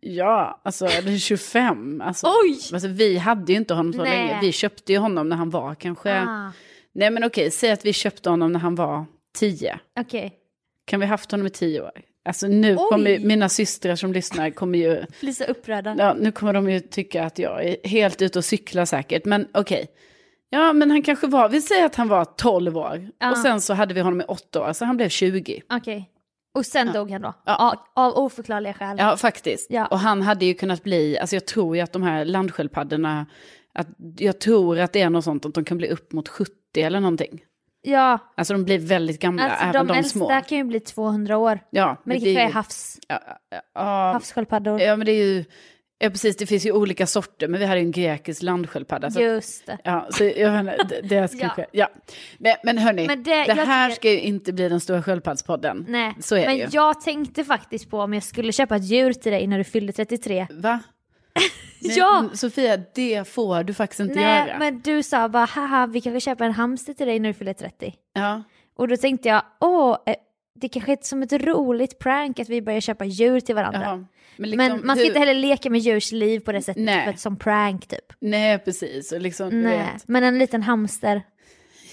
Speaker 2: Ja, alltså eller 25. Alltså,
Speaker 1: Oj!
Speaker 2: alltså, vi hade ju inte honom så
Speaker 1: Nej.
Speaker 2: länge. Vi köpte ju honom när han var kanske...
Speaker 1: Ah,
Speaker 2: Nej men okej, säg att vi köpte honom när han var 10.
Speaker 1: Okej.
Speaker 2: Kan vi haft honom i 10 år? Alltså nu
Speaker 1: Oj.
Speaker 2: kommer mina systrar som lyssnar kommer ju...
Speaker 1: Blir så upprörda.
Speaker 2: Ja, nu kommer de ju tycka att jag är helt ute och cyklar säkert, men okej. Ja, men han kanske var, vi säger att han var 12 år.
Speaker 1: Ja.
Speaker 2: Och sen så hade vi honom i 8 år, så han blev 20.
Speaker 1: Okej. Och sen dog han då?
Speaker 2: Ja.
Speaker 1: A- Av oförklarliga skäl?
Speaker 2: Ja, faktiskt.
Speaker 1: Ja.
Speaker 2: Och han hade ju kunnat bli, alltså jag tror ju att de här landsköldpaddorna, att jag tror att det är något sånt att de kan bli upp mot 70 eller någonting.
Speaker 1: Ja,
Speaker 2: Alltså de blir väldigt gamla,
Speaker 1: alltså de,
Speaker 2: även de,
Speaker 1: äldsta
Speaker 2: små.
Speaker 1: kan ju bli 200 år.
Speaker 2: Ja,
Speaker 1: Men det kanske är havs,
Speaker 2: ja, ja, ja,
Speaker 1: havssköldpaddor.
Speaker 2: ja, men det är ju, ja precis, det finns ju olika sorter, men vi hade ju en grekisk landsköldpadda. Så,
Speaker 1: Just det.
Speaker 2: ja, så jag menar, det, det ska
Speaker 1: Ja.
Speaker 2: ske. Ja. Men, men hörni,
Speaker 1: Men det-
Speaker 2: det,
Speaker 1: jag
Speaker 2: här
Speaker 1: tycker-
Speaker 2: ska ju inte bli den stora sköldpaddspodden.
Speaker 1: Nej,
Speaker 2: Så är
Speaker 1: men
Speaker 2: det ju.
Speaker 1: jag tänkte faktiskt på om jag skulle köpa ett djur till dig när du fyllde 33.
Speaker 2: Va? Nej,
Speaker 1: Ja!
Speaker 2: men Sofia, det får du faktiskt inte
Speaker 1: Nej,
Speaker 2: göra.
Speaker 1: men du sa bara haha, vi kanske köper en hamster till dig när du fyller 30.
Speaker 2: Ja.
Speaker 1: Och då tänkte jag, åh, eh, det kanske är som ett roligt prank att vi börjar köpa djur till varandra.
Speaker 2: Jaha. Men, liksom
Speaker 1: men man ska
Speaker 2: hur-
Speaker 1: inte heller leka med djurs liv på det sättet,
Speaker 2: Nej.
Speaker 1: för att, som prank typ.
Speaker 2: Nej, precis. Och liksom, du
Speaker 1: Nej.
Speaker 2: vet.
Speaker 1: Men en liten hamster,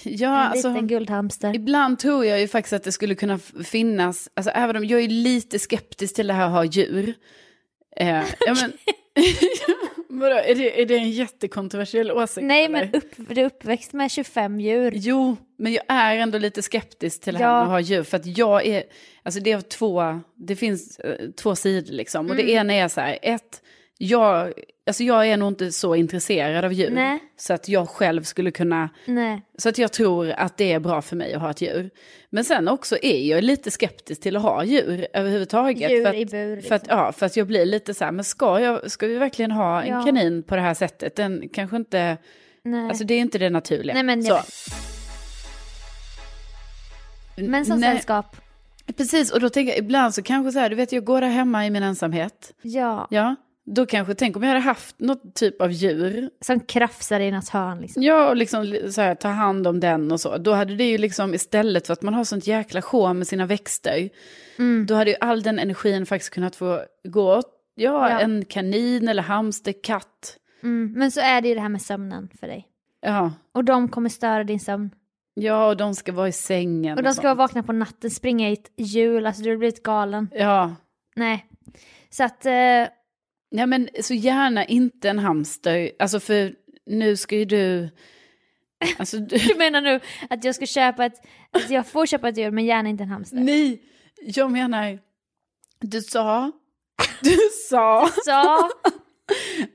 Speaker 2: Ja,
Speaker 1: en
Speaker 2: alltså,
Speaker 1: liten guldhamster.
Speaker 2: ibland tror jag ju faktiskt att det skulle kunna f- finnas, alltså även om jag är lite skeptisk till det här att ha djur. Eh, ja, men, vadå, är, det, är det en jättekontroversiell åsikt?
Speaker 1: Nej,
Speaker 2: eller?
Speaker 1: men upp, du är uppväxt med 25 djur.
Speaker 2: Jo, men jag är ändå lite skeptisk till det här
Speaker 1: Ja.
Speaker 2: med att ha djur. För att jag är, alltså det är två, det finns eh, två sidor liksom. Och
Speaker 1: Mm.
Speaker 2: det ena är så här, ett, jag, alltså jag är nog inte så intresserad av djur.
Speaker 1: Nej.
Speaker 2: Så att jag själv skulle kunna
Speaker 1: Nej.
Speaker 2: så att jag tror att det är bra för mig att ha ett djur. Men sen också är jag lite skeptisk till att ha djur överhuvudtaget.
Speaker 1: Djur
Speaker 2: för att,
Speaker 1: i bur, liksom.
Speaker 2: För att, ja, för att jag blir lite så här, men ska, jag, ska vi verkligen ha en
Speaker 1: Ja.
Speaker 2: kanin på det här sättet? Den kanske inte,
Speaker 1: Nej.
Speaker 2: alltså det är inte det naturliga.
Speaker 1: Nej, men jag
Speaker 2: så.
Speaker 1: vet. men som
Speaker 2: Nej,
Speaker 1: sällskap,
Speaker 2: Precis, och då tänker jag ibland så kanske så här, du vet jag går där hemma i min ensamhet.
Speaker 1: ja.
Speaker 2: Ja, då kanske, tänk om jag hade haft något typ av djur
Speaker 1: Som krafsar i något hörn liksom.
Speaker 2: Ja, och liksom li- så här, ta hand om den och så. Då hade det ju liksom, istället för att man har sånt jäkla sjå med sina växter,
Speaker 1: Mm.
Speaker 2: då hade ju all den energin faktiskt kunnat få gå åt, ja,
Speaker 1: Ja.
Speaker 2: en kanin eller hamster, katt.
Speaker 1: Mm. Men så är det ju det här med sömnen för dig.
Speaker 2: Ja,
Speaker 1: Och de kommer störa din sömn.
Speaker 2: ja och de ska vara i sängen.
Speaker 1: Och de ska vara
Speaker 2: sånt.
Speaker 1: vakna på natten, springa i ett hjul, alltså du har blivit galen.
Speaker 2: Ja,
Speaker 1: Nej. Så att, eh,
Speaker 2: ja men så gärna inte en hamster, alltså för nu ska ju du... Alltså, du...
Speaker 1: du menar nu att jag ska köpa ett, att jag får köpa ett djur men gärna inte en hamster.
Speaker 2: Nej, jag menar, du sa, du sa...
Speaker 1: Så,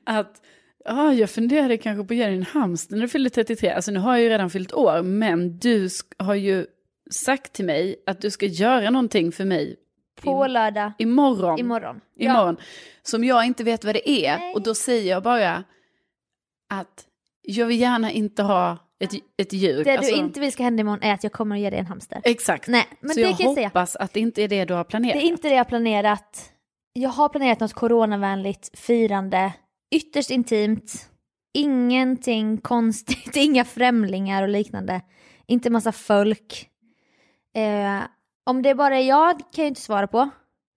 Speaker 2: att ja, jag funderade kanske på att ge dig en hamster när du fyllde 33. Alltså nu har jag ju redan fyllt år, men du sk- har ju sagt till mig att du ska göra någonting för mig
Speaker 1: på lördag,
Speaker 2: imorgon.
Speaker 1: imorgon.
Speaker 2: imorgon Som jag inte vet vad det är. Och då säger jag bara att jag vill gärna inte ha ett, ett djur.
Speaker 1: Ja. Det
Speaker 2: Alltså,
Speaker 1: du inte vill ska hända imorgon är att jag kommer att ge dig en hamster.
Speaker 2: Exakt.
Speaker 1: Nej, men
Speaker 2: Så
Speaker 1: det
Speaker 2: jag
Speaker 1: kan jag säga.
Speaker 2: hoppas att det inte är det du har planerat.
Speaker 1: Det är inte det jag har planerat. Jag har planerat något coronavänligt firande. Ytterst intimt. Ingenting konstigt. Inga främlingar och liknande. Inte massa folk. Eh, om det bara är jag kan jag ju inte svara på.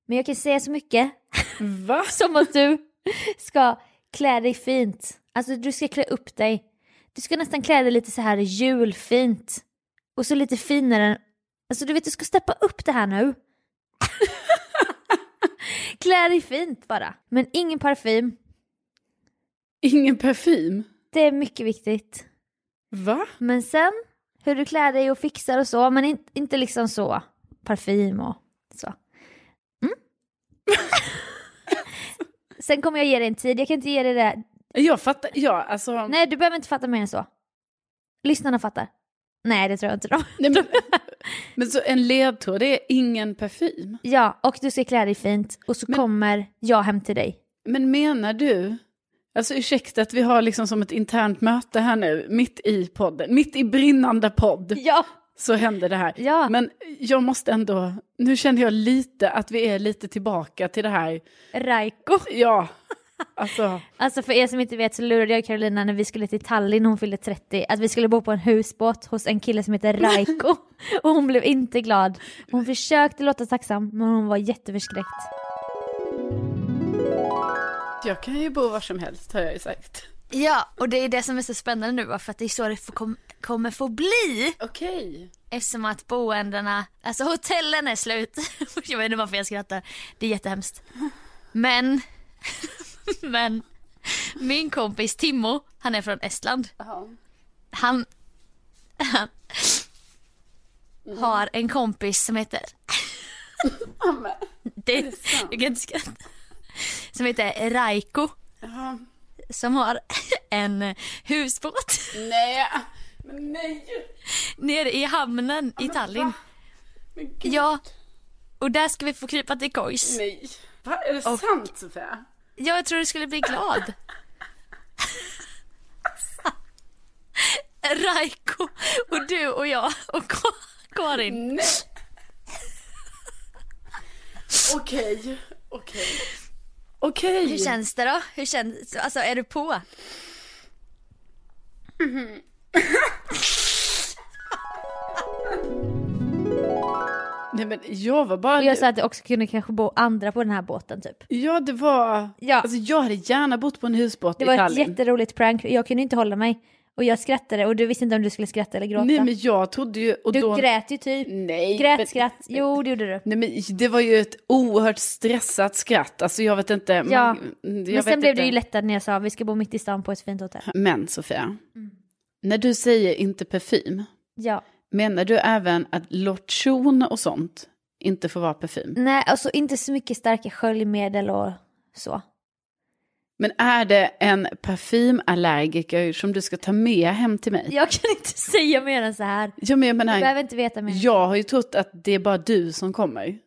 Speaker 1: Men jag kan säga så mycket
Speaker 2: Va?
Speaker 1: som att du ska klä dig fint. Alltså du ska klä upp dig. Du ska nästan klä dig lite så här julfint. Och så lite finare. Alltså du vet, du ska steppa upp det här nu. klä dig fint bara. Men ingen parfym.
Speaker 2: Ingen parfym?
Speaker 1: Det är mycket viktigt.
Speaker 2: Va?
Speaker 1: Men sen, hur du klär dig och fixar och så, men in, inte liksom så parfym och så. Mm. sen kommer jag ge dig en tid, jag kan inte ge dig det.
Speaker 2: Jag fattar, ja alltså.
Speaker 1: Nej, du behöver inte fatta mer än så. Lyssnarna fattar. Nej, det tror jag inte de.
Speaker 2: Nej, men, men så en ledtråd, det är ingen parfym?
Speaker 1: Ja, och du ska klä dig fint och så
Speaker 2: Men-
Speaker 1: kommer jag hem till dig.
Speaker 2: Men menar du, alltså ursäkta att vi har liksom som ett internt möte här nu, mitt i podden, mitt i brinnande podd,
Speaker 1: Ja,
Speaker 2: så händer det här.
Speaker 1: ja.
Speaker 2: Men jag måste ändå, nu känner jag lite att vi är lite tillbaka till det här,
Speaker 1: Raiko.
Speaker 2: ja, alltså,
Speaker 1: Alltså för er som inte vet så lurade jag Carolina när vi skulle till Tallinn, hon fyllde 30, att vi skulle bo på en husbåt hos en kille som heter Raiko. Och hon blev inte glad. Hon försökte låta tacksam, men hon var jätteförskräckt.
Speaker 2: jag kan ju bo var som helst har jag ju sagt.
Speaker 5: Ja, och det är det som är så spännande nu va, för att det är så det får kom, kommer få bli.
Speaker 2: Okej.
Speaker 5: Eftersom att boendena, alltså hotellen är slut. jag vet inte varför jag skrattar. Det är jättehemskt. Men, men, min kompis Timmo, han är från Estland. Han, han har en kompis som heter... det, jag kan inte skratta. Som heter Raiko. Som har en husbåt
Speaker 2: Nej, men nej.
Speaker 5: nere i hamnen i Tallinn.
Speaker 2: Men gud,
Speaker 5: Ja. Och där ska vi få krypa till kojs.
Speaker 2: nej. Va, är det sant Sofia?
Speaker 5: Ja, jag tror du skulle bli glad. Raiko och du och jag och Ka- Karin.
Speaker 2: Nej. Okej, okej.
Speaker 5: Hur
Speaker 2: Okej.
Speaker 5: känns det då? Hur känns Alltså är du på?
Speaker 2: Nej men jag var bara...
Speaker 1: Och jag sa att det också kunde kanske bo andra på den här båten typ.
Speaker 2: Ja det var...
Speaker 1: Ja.
Speaker 2: Alltså jag hade gärna bott på en husbåt
Speaker 1: Det
Speaker 2: i
Speaker 1: var ett
Speaker 2: Tallinn.
Speaker 1: jätteroligt prank, jag kunde inte hålla mig. Och jag skrattade och du visste inte om du skulle skratta eller gråta.
Speaker 2: Nej men jag trodde ju... Och
Speaker 1: Du
Speaker 2: då...
Speaker 1: grät ju typ.
Speaker 2: Nej. men-
Speaker 1: Grät, skratt. Jo, det gjorde du.
Speaker 2: Nej men det var ju ett oerhört stressat skratt. Alltså jag vet inte. man-
Speaker 1: Ja,
Speaker 2: jag
Speaker 1: Men
Speaker 2: vet
Speaker 1: sen blev
Speaker 2: inte.
Speaker 1: du ju lättad när jag sa vi ska bo mitt i stan på ett fint hotell.
Speaker 2: Men Sofia. När du säger inte parfym.
Speaker 1: Ja.
Speaker 2: Menar du även att lotion och sånt inte får vara parfym?
Speaker 1: Nej, alltså inte så mycket starka sköljmedel och så.
Speaker 2: Men är det en parfymallergiker som du ska ta med hem till mig?
Speaker 1: Jag kan inte säga mer än så här.
Speaker 2: Ja, men jag
Speaker 1: Du behöver
Speaker 2: menar,
Speaker 1: inte veta mer.
Speaker 2: jag har ju trott att det är bara du som kommer.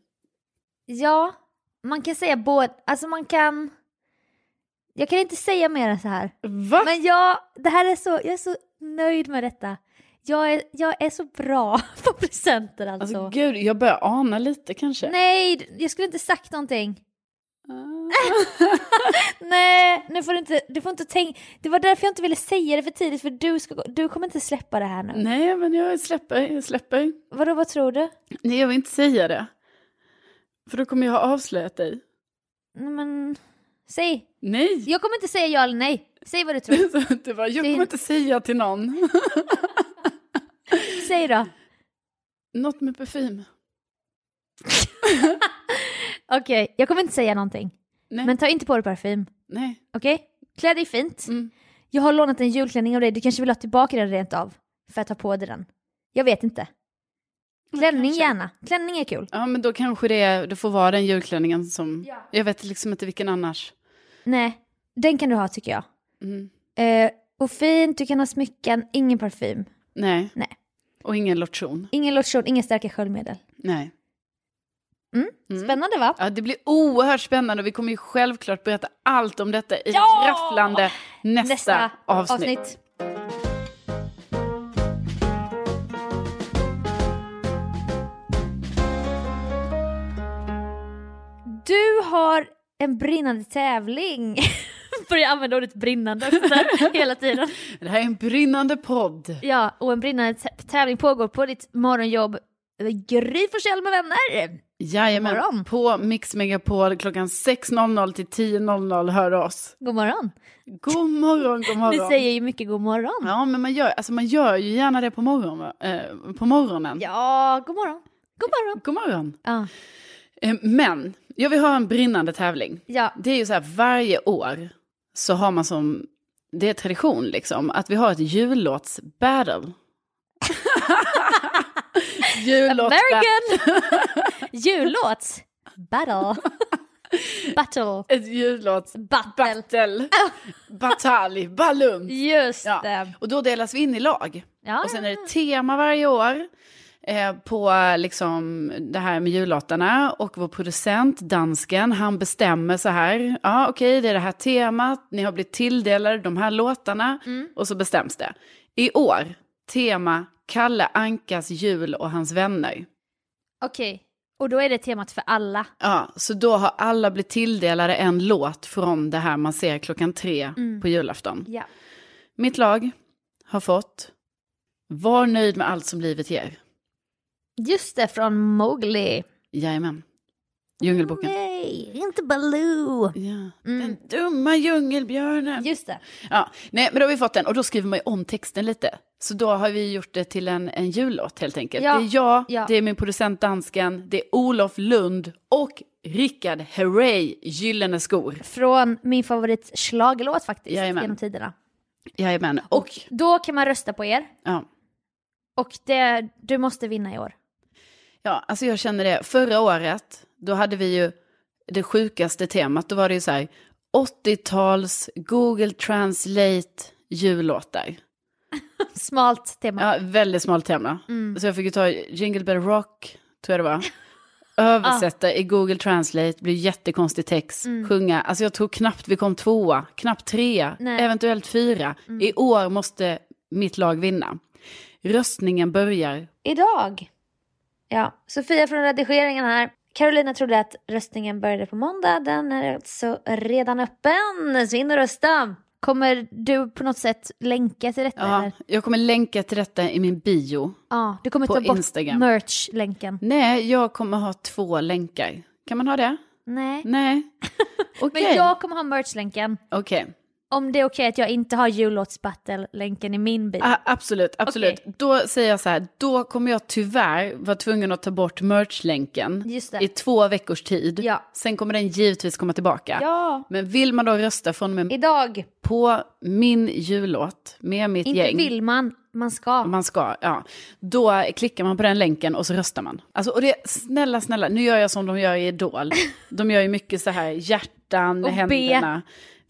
Speaker 1: Ja, man kan säga både, alltså man kan... Jag kan inte säga mer än så här.
Speaker 2: Va?
Speaker 1: Men jag, det här är så, jag är så nöjd med detta. Jag är, jag är så bra på presenter alltså.
Speaker 2: alltså gud, jag börjar ana lite kanske.
Speaker 1: Nej, jag skulle inte sagt någonting.
Speaker 2: Ah.
Speaker 1: Nej, nu får du inte, du får inte tänka. Det var därför jag inte ville säga det för tidigt för du, ska, gå- du kommer inte släppa det här nu.
Speaker 2: Nej, men jag släpper, jag släpper.
Speaker 1: Vadå, vad tror du?
Speaker 2: Nej, jag vill inte säga det. För då kommer jag ha avslöjat dig.
Speaker 1: Nej, men, säg.
Speaker 2: Nej!
Speaker 1: Jag kommer inte säga ja eller nej. Säg vad du tror.
Speaker 2: Det var, jag kommer inte säga till någon.
Speaker 1: Säg då.
Speaker 2: Något med parfym.
Speaker 1: Okej, jag kommer inte säga någonting.
Speaker 2: Nej,
Speaker 1: Men ta inte på dig parfym.
Speaker 2: nej.
Speaker 1: Okej? Klä dig fint.
Speaker 2: Mm.
Speaker 1: Jag har lånat en julklänning av dig. Du kanske vill ha tillbaka den rent av. För att ta på dig den. Jag vet inte. Klänning
Speaker 2: kanske.
Speaker 1: gärna. Klänning är kul.
Speaker 2: Ja, men då kanske det, är- det får vara den julklänningen som... Jag vet liksom inte vilken annars.
Speaker 1: Nej, den kan du ha tycker jag.
Speaker 2: Mm.
Speaker 1: Eh, och fint, du kan ha smycken, ingen parfym.
Speaker 2: Nej.
Speaker 1: Nej.
Speaker 2: Och ingen lotion.
Speaker 1: Ingen lotion, inga starka sköljmedel.
Speaker 2: Nej.
Speaker 1: Mm.
Speaker 2: Mm.
Speaker 1: Spännande va?
Speaker 2: Ja, det blir oerhört spännande och vi kommer ju självklart berätta allt om detta i
Speaker 1: Ja!
Speaker 2: rafflande nästa, avsnitt.
Speaker 1: Du har en brinnande tävling. Börjar använda ordet brinnande efter hela tiden.
Speaker 2: Det här är en brinnande podd.
Speaker 1: Ja, och en brinnande tä- tävling pågår på ditt morgonjobb eh, Gry Forssell med vänner.
Speaker 2: Jajamän,
Speaker 1: morgon.
Speaker 2: på Mix Megapol klockan 6.00 till 10.00 hör oss.
Speaker 1: God morgon.
Speaker 2: God morgon,
Speaker 1: Vi
Speaker 2: god morgon.
Speaker 1: säger ju mycket god morgon.
Speaker 2: Ja, men man gör, alltså man gör ju gärna det på, morgon, va? eh, på morgonen.
Speaker 1: Ja, god morgon. God morgon.
Speaker 2: God morgon.
Speaker 1: Ja,
Speaker 2: Eh, men, jag vill ha en brinnande tävling.
Speaker 1: ja.
Speaker 2: Det är ju så här, varje år så har man som, det är tradition liksom, att vi har ett jullåtsbattle. jullåtsbattle.
Speaker 1: American! Jullåts. Battle. Battle.
Speaker 2: Ett jullåts...
Speaker 1: Battle.
Speaker 2: Battle. Batalj. Ballum.
Speaker 1: Just
Speaker 2: Ja.
Speaker 1: det.
Speaker 2: Och då delas vi in i lag.
Speaker 1: Ja.
Speaker 2: Och sen är det tema varje år eh, på liksom, det här med jullåtarna. Och vår producent, dansken, han bestämmer så här. Ja, okej, det är det här temat. Ni har blivit tilldelade de här låtarna.
Speaker 1: Mm.
Speaker 2: Och så bestäms det. I år, tema Kalle Ankas jul och hans vänner.
Speaker 1: Okej, och då är det temat för alla.
Speaker 2: Ja, så då har alla blivit tilldelade en låt från det här man ser klockan tre
Speaker 1: Mm.
Speaker 2: på julafton.
Speaker 1: Ja.
Speaker 2: Mitt lag har fått Var nöjd med allt som livet ger.
Speaker 1: Just det, från Mowgli.
Speaker 2: Jajamän. Djungelboken.
Speaker 1: Nej, inte Baloo.
Speaker 2: Ja.
Speaker 1: Mm.
Speaker 2: Den dumma djungelbjörnen.
Speaker 1: Just det.
Speaker 2: Ja, nej, men då har vi fått den och då skriver man ju om texten lite. Så då har vi gjort det till en, en jullåt helt enkelt.
Speaker 1: Ja,
Speaker 2: Det är jag,
Speaker 1: ja.
Speaker 2: det är min producent dansken, det är Olof Lund och Rickard Herrey, Gyllene skor.
Speaker 1: Från min favorit schlagerlåt faktiskt,
Speaker 2: Jajamän.
Speaker 1: genom tiderna.
Speaker 2: Jajamän. Och,
Speaker 1: Då kan man rösta på er.
Speaker 2: ja.
Speaker 1: Och det, du måste vinna i år.
Speaker 2: Ja, alltså jag känner det. Förra året, då hade vi ju det sjukaste temat. Då var det ju så här, 80-tals Google Translate jullåtar.
Speaker 1: Smalt tema.
Speaker 2: Ja, Mm. väldigt smalt tema. Så jag fick ju ta Jingle Bell Rock, tror jag det var. Översätta i Google Translate, blir jättekonstig text, sjunga. Alltså jag tror knappt vi kom tvåa, knappt trea,
Speaker 1: Nej.
Speaker 2: eventuellt fyra. I år måste mitt lag vinna. Röstningen börjar
Speaker 1: Idag. Ja, Sofia från redigeringen här. Carolina trodde att röstningen började på måndag. Den är alltså redan öppen. Så in och rösta. Kommer du på något sätt länka till detta?
Speaker 2: Ja,
Speaker 1: eller?
Speaker 2: jag kommer länka till detta i min bio.
Speaker 1: ja du kommer
Speaker 2: På
Speaker 1: ta bort
Speaker 2: Instagram.
Speaker 1: merch-länken.
Speaker 2: Nej, jag kommer ha två länkar. Kan man ha det?
Speaker 1: Nej.
Speaker 2: Nej.
Speaker 1: Men
Speaker 2: Okej.
Speaker 1: jag kommer ha merch-länken.
Speaker 2: Okej.
Speaker 1: Om det är okej att jag inte har jullåtsbattle-länken i min bil.
Speaker 2: Ah, absolut, absolut. Då säger jag så här, då kommer jag tyvärr vara tvungen att ta bort merch-länken
Speaker 1: Just det.
Speaker 2: i två veckors tid.
Speaker 1: Ja.
Speaker 2: Sen kommer den givetvis komma tillbaka.
Speaker 1: Ja.
Speaker 2: Men vill man då rösta från och med
Speaker 1: Idag.
Speaker 2: på min jullåt med mitt
Speaker 1: Inte
Speaker 2: gäng,
Speaker 1: vill man, man ska.
Speaker 2: man ska, ja, då klickar man på den länken och så röstar man. Alltså, och det, snälla, snälla, nu gör jag som de gör i Idol. De gör ju mycket så här, hjärtan,
Speaker 1: Och
Speaker 2: händerna.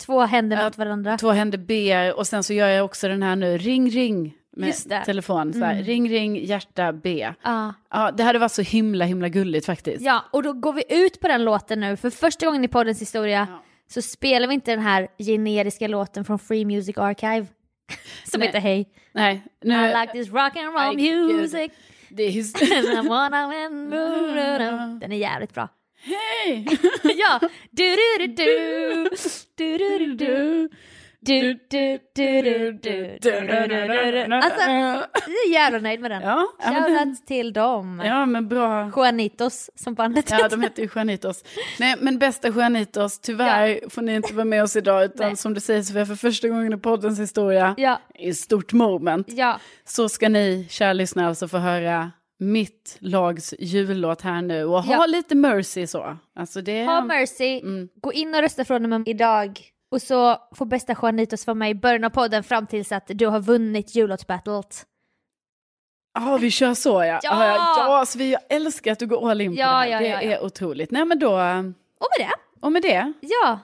Speaker 1: Två händer mot varandra.
Speaker 2: Två händer ber och sen så gör jag också den här nu, ring ring
Speaker 1: Just det.
Speaker 2: med telefon. Så här, Ring ring hjärta B.
Speaker 1: Ja.
Speaker 2: Ja, det hade varit så himla himla gulligt faktiskt.
Speaker 1: Ja, och då går vi ut på den låten nu. För första gången i poddens historia så spelar vi inte den här generiska låten från Free Music Archive. Som
Speaker 2: Nej.
Speaker 1: heter Hej.
Speaker 2: Nej, nu,
Speaker 1: I like this rock and roll
Speaker 2: Nej, gud.
Speaker 1: music.
Speaker 2: det är his-
Speaker 1: And I wanna win. Den är jävligt bra.
Speaker 2: Hej!
Speaker 1: Ja! Du, du, du, du. Du, du, du, du. Du, du, du, du, du. Du, du, du, du, du. Alltså, jag är jävla nöjd med den.
Speaker 2: Ja, ja, men den-
Speaker 1: Shoutout till dem.
Speaker 2: ja men bra.
Speaker 1: Juanitos, som bandet
Speaker 2: Ja, de heter ju Juanitos. Nej, men bästa Juanitos, tyvärr får ni inte vara med oss idag, utan
Speaker 1: Nej.
Speaker 2: som du säger Sofia, för första gången i poddens historia,
Speaker 1: Ja,
Speaker 2: i ett stort moment,
Speaker 1: ja.
Speaker 2: så ska ni, kära lyssnare, alltså få höra mitt lags jullåt här nu. Och ha
Speaker 1: Ja.
Speaker 2: lite mercy så. Alltså det...
Speaker 1: Ha mercy.
Speaker 2: Mm.
Speaker 1: Gå in och rösta från och med idag. Och så får bästa Juanitos vara med i början av podden fram tills att du har vunnit jullåtsbattlet.
Speaker 2: Ja, vi kör så ja.
Speaker 1: Ja!
Speaker 2: ja så vi, jag älskar att du går all in på
Speaker 1: Ja,
Speaker 2: det här.
Speaker 1: ja,
Speaker 2: det
Speaker 1: ja, ja.
Speaker 2: är otroligt. Nej men då,
Speaker 1: Och med det,
Speaker 2: och med det,
Speaker 1: ja,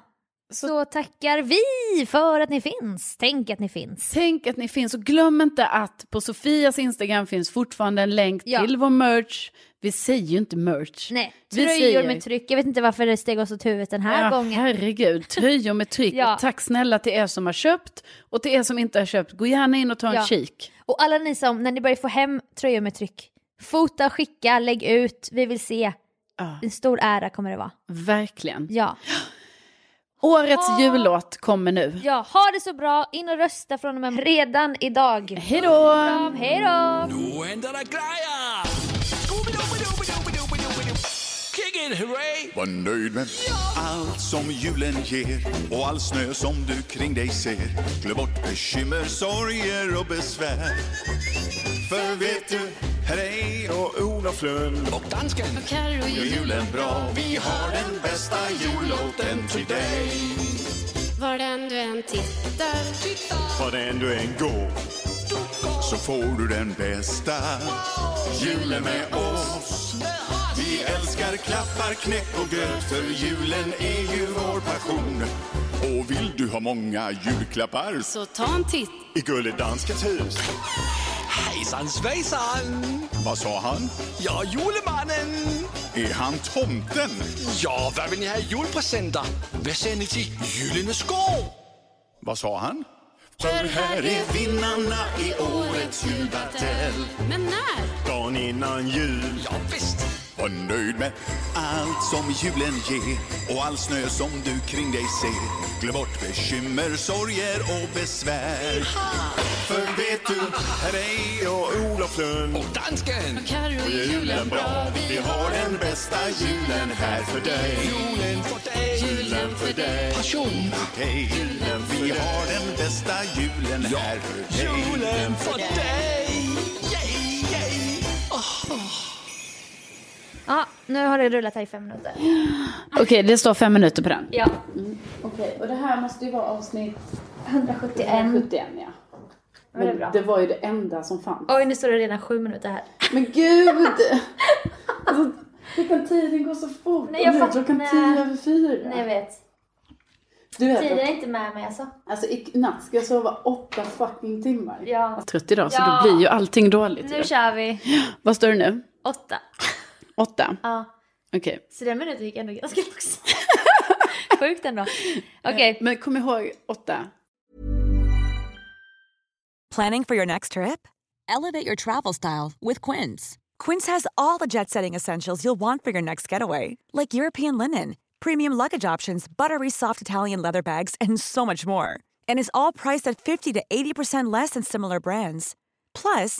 Speaker 1: så... tackar vi för att ni finns. Tänk att ni finns.
Speaker 2: tänk att ni finns och glöm inte att på Sofias Instagram finns fortfarande en länk
Speaker 1: Ja.
Speaker 2: till vår merch. Vi säger ju inte merch.
Speaker 1: Nej,
Speaker 2: Vi
Speaker 1: tröjor
Speaker 2: säger-
Speaker 1: med tryck. Jag vet inte varför det steg oss åt huvudet den här
Speaker 2: Ja,
Speaker 1: gången.
Speaker 2: herregud, tröjor med tryck.
Speaker 1: Ja.
Speaker 2: och tack snälla till er som har köpt och till er som inte har köpt. Gå gärna in och ta en
Speaker 1: Ja.
Speaker 2: kik.
Speaker 1: Och alla ni som, när ni börjar få hem tröjor med tryck, fota, skicka, lägg ut, vi vill se.
Speaker 2: Ja.
Speaker 1: En stor ära kommer det vara.
Speaker 2: Verkligen.
Speaker 1: Ja.
Speaker 2: Årets
Speaker 1: Ha-
Speaker 2: jullåt kommer nu.
Speaker 1: ja, ha det så bra, in och rösta från och med redan idag.
Speaker 2: Hej då!
Speaker 1: Kram, hej då!
Speaker 6: Ah.
Speaker 4: Nu ändrar det grejer!
Speaker 6: Kick it, hooray! Var nöjd med allt som julen ger och all snö som du kring dig ser. Glöm bort bekymmer, sorger och besvär. För vet du, här är och Olof Lund och dansken
Speaker 5: Och Carro
Speaker 6: gör julen bra. Vi har den bästa jullåten till dig.
Speaker 7: Var den du än tittar,
Speaker 6: Var den du än går så får du den bästa julen med oss. Vi älskar klappar, knäck och gröt för julen är ju vår passion. Och vill du ha många julklappar
Speaker 7: så ta en titt.
Speaker 6: i Gulledanskens hus.
Speaker 7: Hejsan svejsan!
Speaker 6: Vad sa han?
Speaker 8: Ja, julemannen!
Speaker 6: Är han tomten?
Speaker 8: Ja, vad vill ni ha i julpresenter? Vad säger ni till Gyllene skål?
Speaker 6: Vad sa han? För här är vinnarna i årets julbattell.
Speaker 7: Men när?
Speaker 6: Dagen innan jul. Ja, visst. Var nöjd med allt som julen ger och all snö som du kring dig ser. Glöm bort bekymmer, sorger och besvär. För vet du, här är och Olof Lund. Och dansken.
Speaker 7: Och Carro
Speaker 6: Och gör julen bra. Vi har den bästa julen här för dig. Julen för dig. Julen för dig. Passion. Hej. Julen för Vi har den bästa julen här för dig.
Speaker 8: Julen för dig! Yay, yay!
Speaker 1: Ja, nu har det rullat här i fem minuter.
Speaker 2: Okej, det står fem minuter på den.
Speaker 1: Ja.
Speaker 2: Okej, och det här måste ju vara avsnitt
Speaker 1: 171.
Speaker 2: 71, ja.
Speaker 1: Men det är bra.
Speaker 2: det var ju det enda som fanns.
Speaker 1: Oj, nu står det redan sju minuter här.
Speaker 2: Men gud! alltså, klockan tiden går så fort.
Speaker 1: Nej, jag
Speaker 2: Och nu är
Speaker 1: fattar.
Speaker 2: Klockan tio över fyra.
Speaker 1: Nej, jag vet.
Speaker 2: Du vet,
Speaker 1: Tiden är inte med mig alltså.
Speaker 2: alltså i natt ska jag sova åtta fucking timmar.
Speaker 1: Ja.
Speaker 2: Trött idag, så
Speaker 1: Ja.
Speaker 2: då blir ju allting dåligt.
Speaker 1: Nu
Speaker 2: ju.
Speaker 1: kör vi.
Speaker 2: Vad står det nu?
Speaker 1: Åtta.
Speaker 2: Åtta?
Speaker 1: Ja.
Speaker 2: Okej.
Speaker 1: Så den minuten gick ändå ganska långsamt. Sjukt ändå. Okej.
Speaker 2: Men kom ihåg åtta.
Speaker 9: Planning for your next trip? Elevate your travel style with Quince. Quince has all the jet setting essentials you'll want for your next getaway, like European linen, premium luggage options, buttery soft Italian leather bags, and so much more. And is all priced at 50 to 80% less than similar brands. Plus,